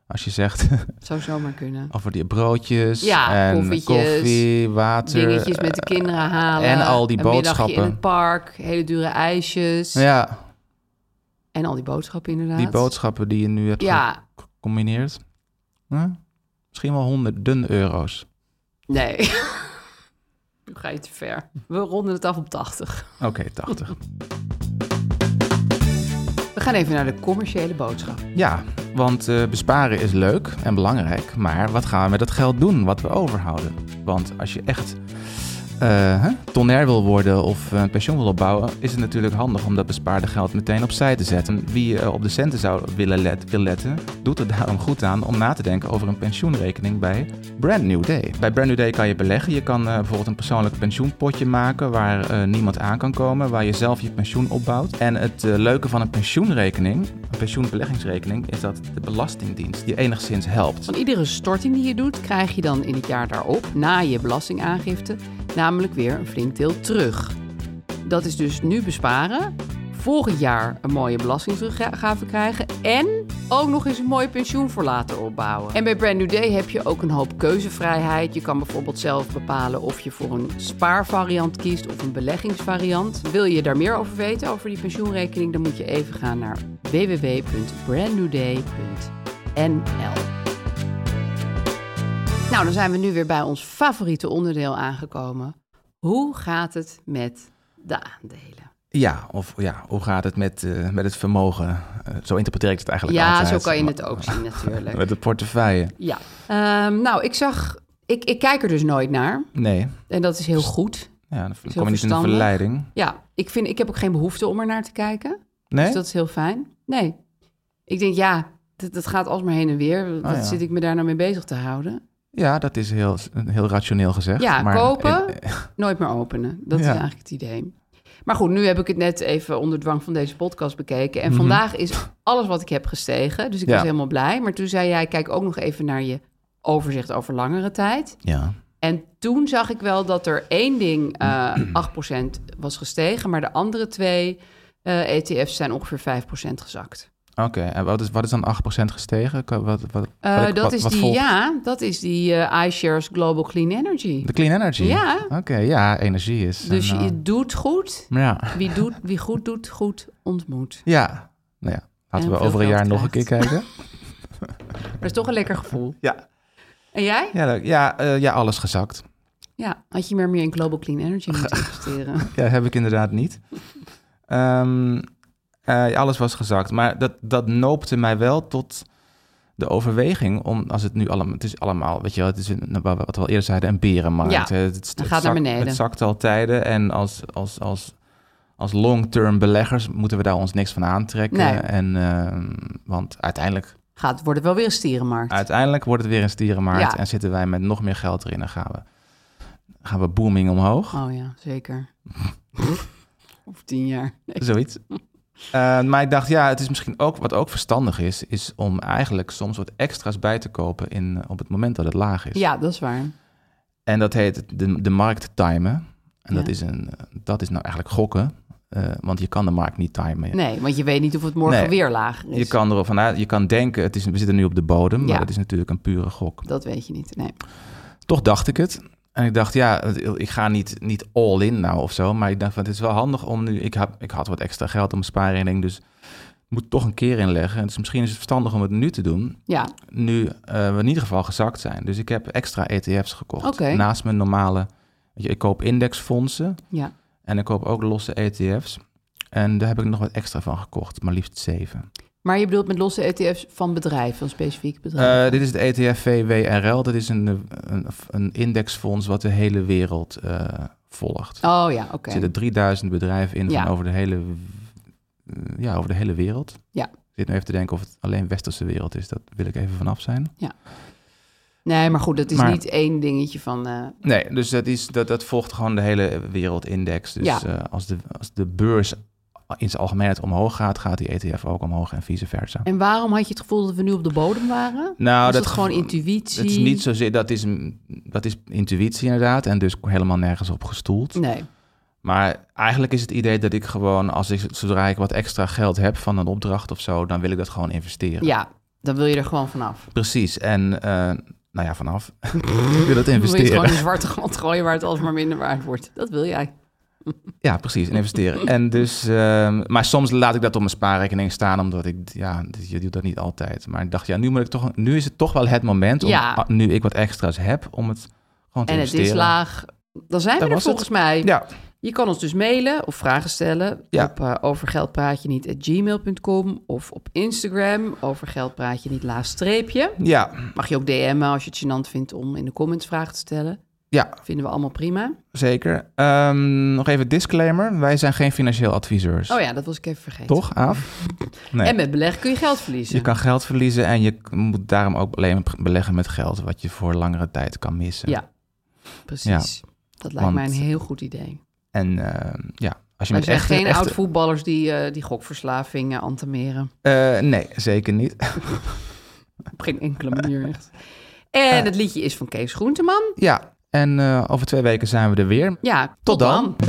[SPEAKER 2] Als je zegt [laughs]
[SPEAKER 3] Het zou zomaar kunnen.
[SPEAKER 2] over die broodjes
[SPEAKER 3] Ja,
[SPEAKER 2] en
[SPEAKER 3] koffietjes,
[SPEAKER 2] koffie, water.
[SPEAKER 3] Dingetjes met de kinderen halen.
[SPEAKER 2] en al die
[SPEAKER 3] een middagje
[SPEAKER 2] boodschappen.
[SPEAKER 3] in het park, hele dure ijsjes.
[SPEAKER 2] Ja,
[SPEAKER 3] En al die boodschappen inderdaad.
[SPEAKER 2] die boodschappen die je nu hebt
[SPEAKER 3] Ja,
[SPEAKER 2] gecombineerd. Hm? Misschien wel honderden euro's.
[SPEAKER 3] nee. [laughs] Nu ga je te ver. We ronden het af op 80.
[SPEAKER 2] Oké,
[SPEAKER 3] [laughs]
[SPEAKER 2] 80.
[SPEAKER 3] We gaan even naar de commerciële boodschap.
[SPEAKER 2] ja, want eh, besparen is leuk en belangrijk. Maar wat gaan we met dat geld doen wat we overhouden? Want als je echt eh, hè, tonair wil worden of eh, een pensioen wil opbouwen, is het natuurlijk handig om dat bespaarde geld meteen opzij te zetten. Wie eh, op de centen zou willen let- wil letten, doet er daarom goed aan om na te denken over een pensioenrekening bij Brand New Day. Bij Brand New Day kan je beleggen. Je kan eh, bijvoorbeeld een persoonlijk pensioenpotje maken waar eh, niemand aan kan komen, waar je zelf je pensioen opbouwt. En het eh, leuke van een pensioenrekening, een pensioenbeleggingsrekening, is dat de Belastingdienst je enigszins helpt.
[SPEAKER 3] Van iedere storting die je doet, krijg je dan in het jaar daarop, na je belastingaangifte, namelijk weer een flink deel terug. Dat is dus nu besparen, volgend jaar een mooie belastingteruggave krijgen en ook nog eens een mooi pensioen voor later opbouwen. En bij Brand New Day heb je ook een hoop keuzevrijheid. Je kan bijvoorbeeld zelf bepalen of je voor een spaarvariant kiest of een beleggingsvariant. Wil je daar meer over weten, over die pensioenrekening, dan moet je even gaan naar www.brandnewday.nl. Nou, dan zijn we nu weer bij ons favoriete onderdeel aangekomen. Hoe gaat het met de aandelen?
[SPEAKER 2] Ja, of ja, hoe gaat het met, eh, met het vermogen? Eh, zo interpreteer ik het eigenlijk
[SPEAKER 3] ja,
[SPEAKER 2] altijd.
[SPEAKER 3] zo kan je het ook zien natuurlijk.
[SPEAKER 2] [laughs] Met de portefeuille.
[SPEAKER 3] Ja. Ehm, nou, ik zag... Ik, ik kijk er dus nooit naar.
[SPEAKER 2] Nee,
[SPEAKER 3] En dat is heel goed.
[SPEAKER 2] ja, dan
[SPEAKER 3] heel
[SPEAKER 2] kom je niet in de
[SPEAKER 3] verstandig.
[SPEAKER 2] verleiding.
[SPEAKER 3] Ja, ik, vind, ik heb ook geen behoefte om er naar te kijken.
[SPEAKER 2] Nee?
[SPEAKER 3] Dus dat is heel fijn. Nee. Ik denk, ja, dat, dat gaat alsmaar heen en weer. Wat
[SPEAKER 2] Oh ja.
[SPEAKER 3] zit ik me daar nou mee bezig te houden?
[SPEAKER 2] Ja, dat is heel, heel rationeel gezegd.
[SPEAKER 3] Ja,
[SPEAKER 2] maar
[SPEAKER 3] kopen,
[SPEAKER 2] eh, eh,
[SPEAKER 3] nooit meer openen. Dat is
[SPEAKER 2] Ja.
[SPEAKER 3] eigenlijk het idee. Maar goed, nu heb ik het net even onder dwang van deze podcast bekeken. En vandaag is alles wat ik heb gestegen. Dus ik
[SPEAKER 2] Mhm. Ja.
[SPEAKER 3] was helemaal blij. Maar toen zei jij, kijk ook nog even naar je overzicht over langere tijd.
[SPEAKER 2] ja.
[SPEAKER 3] En toen zag ik wel dat er één ding
[SPEAKER 2] [clears throat]
[SPEAKER 3] eh 8% was gestegen. Maar de andere twee eh, ETF's zijn ongeveer 5% gezakt.
[SPEAKER 2] Oké, en wat is, wat is dan 8% gestegen? Kan- Wat, wat, wat,
[SPEAKER 3] Eh,
[SPEAKER 2] ik-
[SPEAKER 3] dat
[SPEAKER 2] wat-
[SPEAKER 3] is
[SPEAKER 2] wat
[SPEAKER 3] die,
[SPEAKER 2] volgt?
[SPEAKER 3] ja, dat is die eh, iShares Global Clean Energy.
[SPEAKER 2] De clean energy?
[SPEAKER 3] Ja.
[SPEAKER 2] Oké, ja, energie is...
[SPEAKER 3] Dus
[SPEAKER 2] een, eh,
[SPEAKER 3] je doet goed.
[SPEAKER 2] Ja,
[SPEAKER 3] Wie, doet, wie goed doet, goed ontmoet.
[SPEAKER 2] ja. Nou ja,
[SPEAKER 3] En
[SPEAKER 2] laten we
[SPEAKER 3] hoeveel
[SPEAKER 2] over een jaar
[SPEAKER 3] geld
[SPEAKER 2] nog een keer
[SPEAKER 3] [laughs]
[SPEAKER 2] kijken.
[SPEAKER 3] Dat is toch een lekker gevoel.
[SPEAKER 2] ja.
[SPEAKER 3] En jij?
[SPEAKER 2] Ja, leuk. ja, eh, ja, alles gezakt.
[SPEAKER 3] Ja, had je meer meer in Global Clean Energy
[SPEAKER 2] [laughs]
[SPEAKER 3] moeten investeren.
[SPEAKER 2] Ja, heb ik inderdaad
[SPEAKER 3] [laughs]
[SPEAKER 2] niet. Ehm, eh, alles was gezakt. Maar dat, dat noopte mij wel tot de overweging om, als het nu allemaal, het is allemaal, weet je wel, het is een, wat we al eerder zeiden, een berenmarkt.
[SPEAKER 3] Ja,
[SPEAKER 2] hè. het, het,
[SPEAKER 3] gaat naar
[SPEAKER 2] zakt-
[SPEAKER 3] beneden.
[SPEAKER 2] Het zakt al tijden en als, als, als, als long-term beleggers moeten we daar ons niks van aantrekken.
[SPEAKER 3] Nee.
[SPEAKER 2] En, ehm, want uiteindelijk,
[SPEAKER 3] Gaat, wordt het wel weer een stierenmarkt.
[SPEAKER 2] uiteindelijk wordt het weer een stierenmarkt
[SPEAKER 3] Ja.
[SPEAKER 2] en zitten wij met nog meer geld erin en gaan we, gaan we booming omhoog.
[SPEAKER 3] Oh ja,
[SPEAKER 2] [laughs]
[SPEAKER 3] zeker. Over tien jaar. Nee. [laughs]
[SPEAKER 2] Zoiets. Eh, maar ik dacht, ja, het is misschien ook wat ook verstandig is, is om eigenlijk soms wat extra's bij te kopen in, eh, op het moment dat het laag is.
[SPEAKER 3] Ja, dat is waar.
[SPEAKER 2] En dat heet de, de markt timen. En dat,
[SPEAKER 3] Ja.
[SPEAKER 2] is een, eh, dat is nou eigenlijk gokken, eh, want je kan de markt niet timen.
[SPEAKER 3] Nee, want je weet niet of het morgen
[SPEAKER 2] Nee.
[SPEAKER 3] weer lager is.
[SPEAKER 2] Je kan erop vanuit, je kan denken, het is, we zitten nu op de bodem,
[SPEAKER 3] Ja.
[SPEAKER 2] maar dat is natuurlijk een pure gok.
[SPEAKER 3] Dat weet je niet. Nee.
[SPEAKER 2] Toch dacht ik het. En ik dacht, ja, ik ga niet, niet all in nou of zo. Maar ik dacht, van, het is wel handig om nu... Ik, heb, ik had wat extra geld op mijn spaarrekening, dus ik moet toch een keer inleggen. Dus misschien is het verstandig om het nu te doen.
[SPEAKER 3] Ja,
[SPEAKER 2] Nu eh, we in ieder geval gezakt zijn. Dus ik heb extra ETF's gekocht.
[SPEAKER 3] Oké.
[SPEAKER 2] Naast mijn normale... weet je, ik koop indexfondsen
[SPEAKER 3] ja.
[SPEAKER 2] en ik koop ook losse ETF's. En daar heb ik nog wat extra van gekocht, maar liefst zeven.
[SPEAKER 3] Maar je bedoelt met losse ETF's van bedrijven, van specifieke bedrijven.
[SPEAKER 2] Eh, dit is de ETF VWRL. Dat is een, eh, een, een indexfonds wat de hele wereld eh, volgt.
[SPEAKER 3] oh ja, oké.
[SPEAKER 2] Er zitten 3000 bedrijven in
[SPEAKER 3] Ja.
[SPEAKER 2] van over de hele, eh, ja, over de hele wereld.
[SPEAKER 3] Ja.
[SPEAKER 2] Ik zit nu even te denken of het alleen westerse wereld is. Dat wil ik even vanaf zijn.
[SPEAKER 3] Nee, maar goed, dat is
[SPEAKER 2] Maar-
[SPEAKER 3] niet één dingetje van... eh,
[SPEAKER 2] Nee, dus dat, is, dat, dat volgt gewoon de hele wereldindex. Dus
[SPEAKER 3] Ja.
[SPEAKER 2] eh, als, de, als de beurs in zijn algemeenheid omhoog gaat, gaat die ETF ook omhoog en vice versa.
[SPEAKER 3] En waarom had je het gevoel dat we nu op de bodem waren?
[SPEAKER 2] Nou,
[SPEAKER 3] Was dat,
[SPEAKER 2] gevo-
[SPEAKER 3] gewoon intuïtie?
[SPEAKER 2] Dat is niet zozeer, dat is, een- dat is intuïtie inderdaad en dus helemaal nergens op gestoeld.
[SPEAKER 3] Nee.
[SPEAKER 2] Maar eigenlijk is het idee dat ik gewoon, als ik, zodra ik wat extra geld heb van een opdracht of zo, dan wil ik dat gewoon investeren.
[SPEAKER 3] Ja, dan wil je er gewoon vanaf.
[SPEAKER 2] Precies. En eh, nou ja,
[SPEAKER 3] [laughs]
[SPEAKER 2] vanaf. ik wil dat
[SPEAKER 3] Dan wil je het
[SPEAKER 2] investeren.
[SPEAKER 3] gewoon in zwarte grond gooien waar het alsmaar minder waard wordt. Dat wil jij.
[SPEAKER 2] Ja, precies. En investeren. en dus, ehm, maar soms laat ik dat op mijn spaarrekening staan, omdat ik, ja, dus je doet dat niet altijd. Maar ik dacht, ja, nu, moet ik toch, nu is het toch wel het moment, om,
[SPEAKER 3] Ja.
[SPEAKER 2] ah, nu ik wat extra's heb, om het gewoon te
[SPEAKER 3] En het
[SPEAKER 2] investeren.
[SPEAKER 3] is laag. Dan zijn we
[SPEAKER 2] Dat
[SPEAKER 3] er
[SPEAKER 2] was het.
[SPEAKER 3] volgens mij.
[SPEAKER 2] Ja,
[SPEAKER 3] Je kan ons dus mailen of vragen stellen
[SPEAKER 2] Ja.
[SPEAKER 3] op eh overgeldpraatjeniet@gmail.com of op Instagram overgeldpraatjeniet laagstreepje.
[SPEAKER 2] ja,
[SPEAKER 3] Mag je ook DM'en als je het gênant vindt om in de comments vragen te stellen.
[SPEAKER 2] Ja,
[SPEAKER 3] Vinden we allemaal prima.
[SPEAKER 2] zeker. Ehm, nog even disclaimer. Wij zijn geen financieel adviseurs.
[SPEAKER 3] Oh ja, dat was ik even vergeten. [laughs]
[SPEAKER 2] Toch, Aaf? Nee.
[SPEAKER 3] En met beleg kun je geld verliezen.
[SPEAKER 2] Je kan geld verliezen en je k- moet daarom ook alleen beleggen met geld wat je voor langere tijd kan missen.
[SPEAKER 3] Ja, precies. Dat lijkt mij
[SPEAKER 2] Want-
[SPEAKER 3] een heel goed idee.
[SPEAKER 2] En ehm, ja, als je
[SPEAKER 3] Er
[SPEAKER 2] met
[SPEAKER 3] zijn
[SPEAKER 2] echt
[SPEAKER 3] geen oud-voetballers die, eh, die gokverslaving eh, antameren.
[SPEAKER 2] nee, zeker niet. [laughs]
[SPEAKER 3] Op geen enkele manier echt. En het liedje is van Kees Groenteman.
[SPEAKER 2] ja, en eh, over twee weken zijn we er weer.
[SPEAKER 3] Ja, tot,
[SPEAKER 2] dan.
[SPEAKER 3] dan.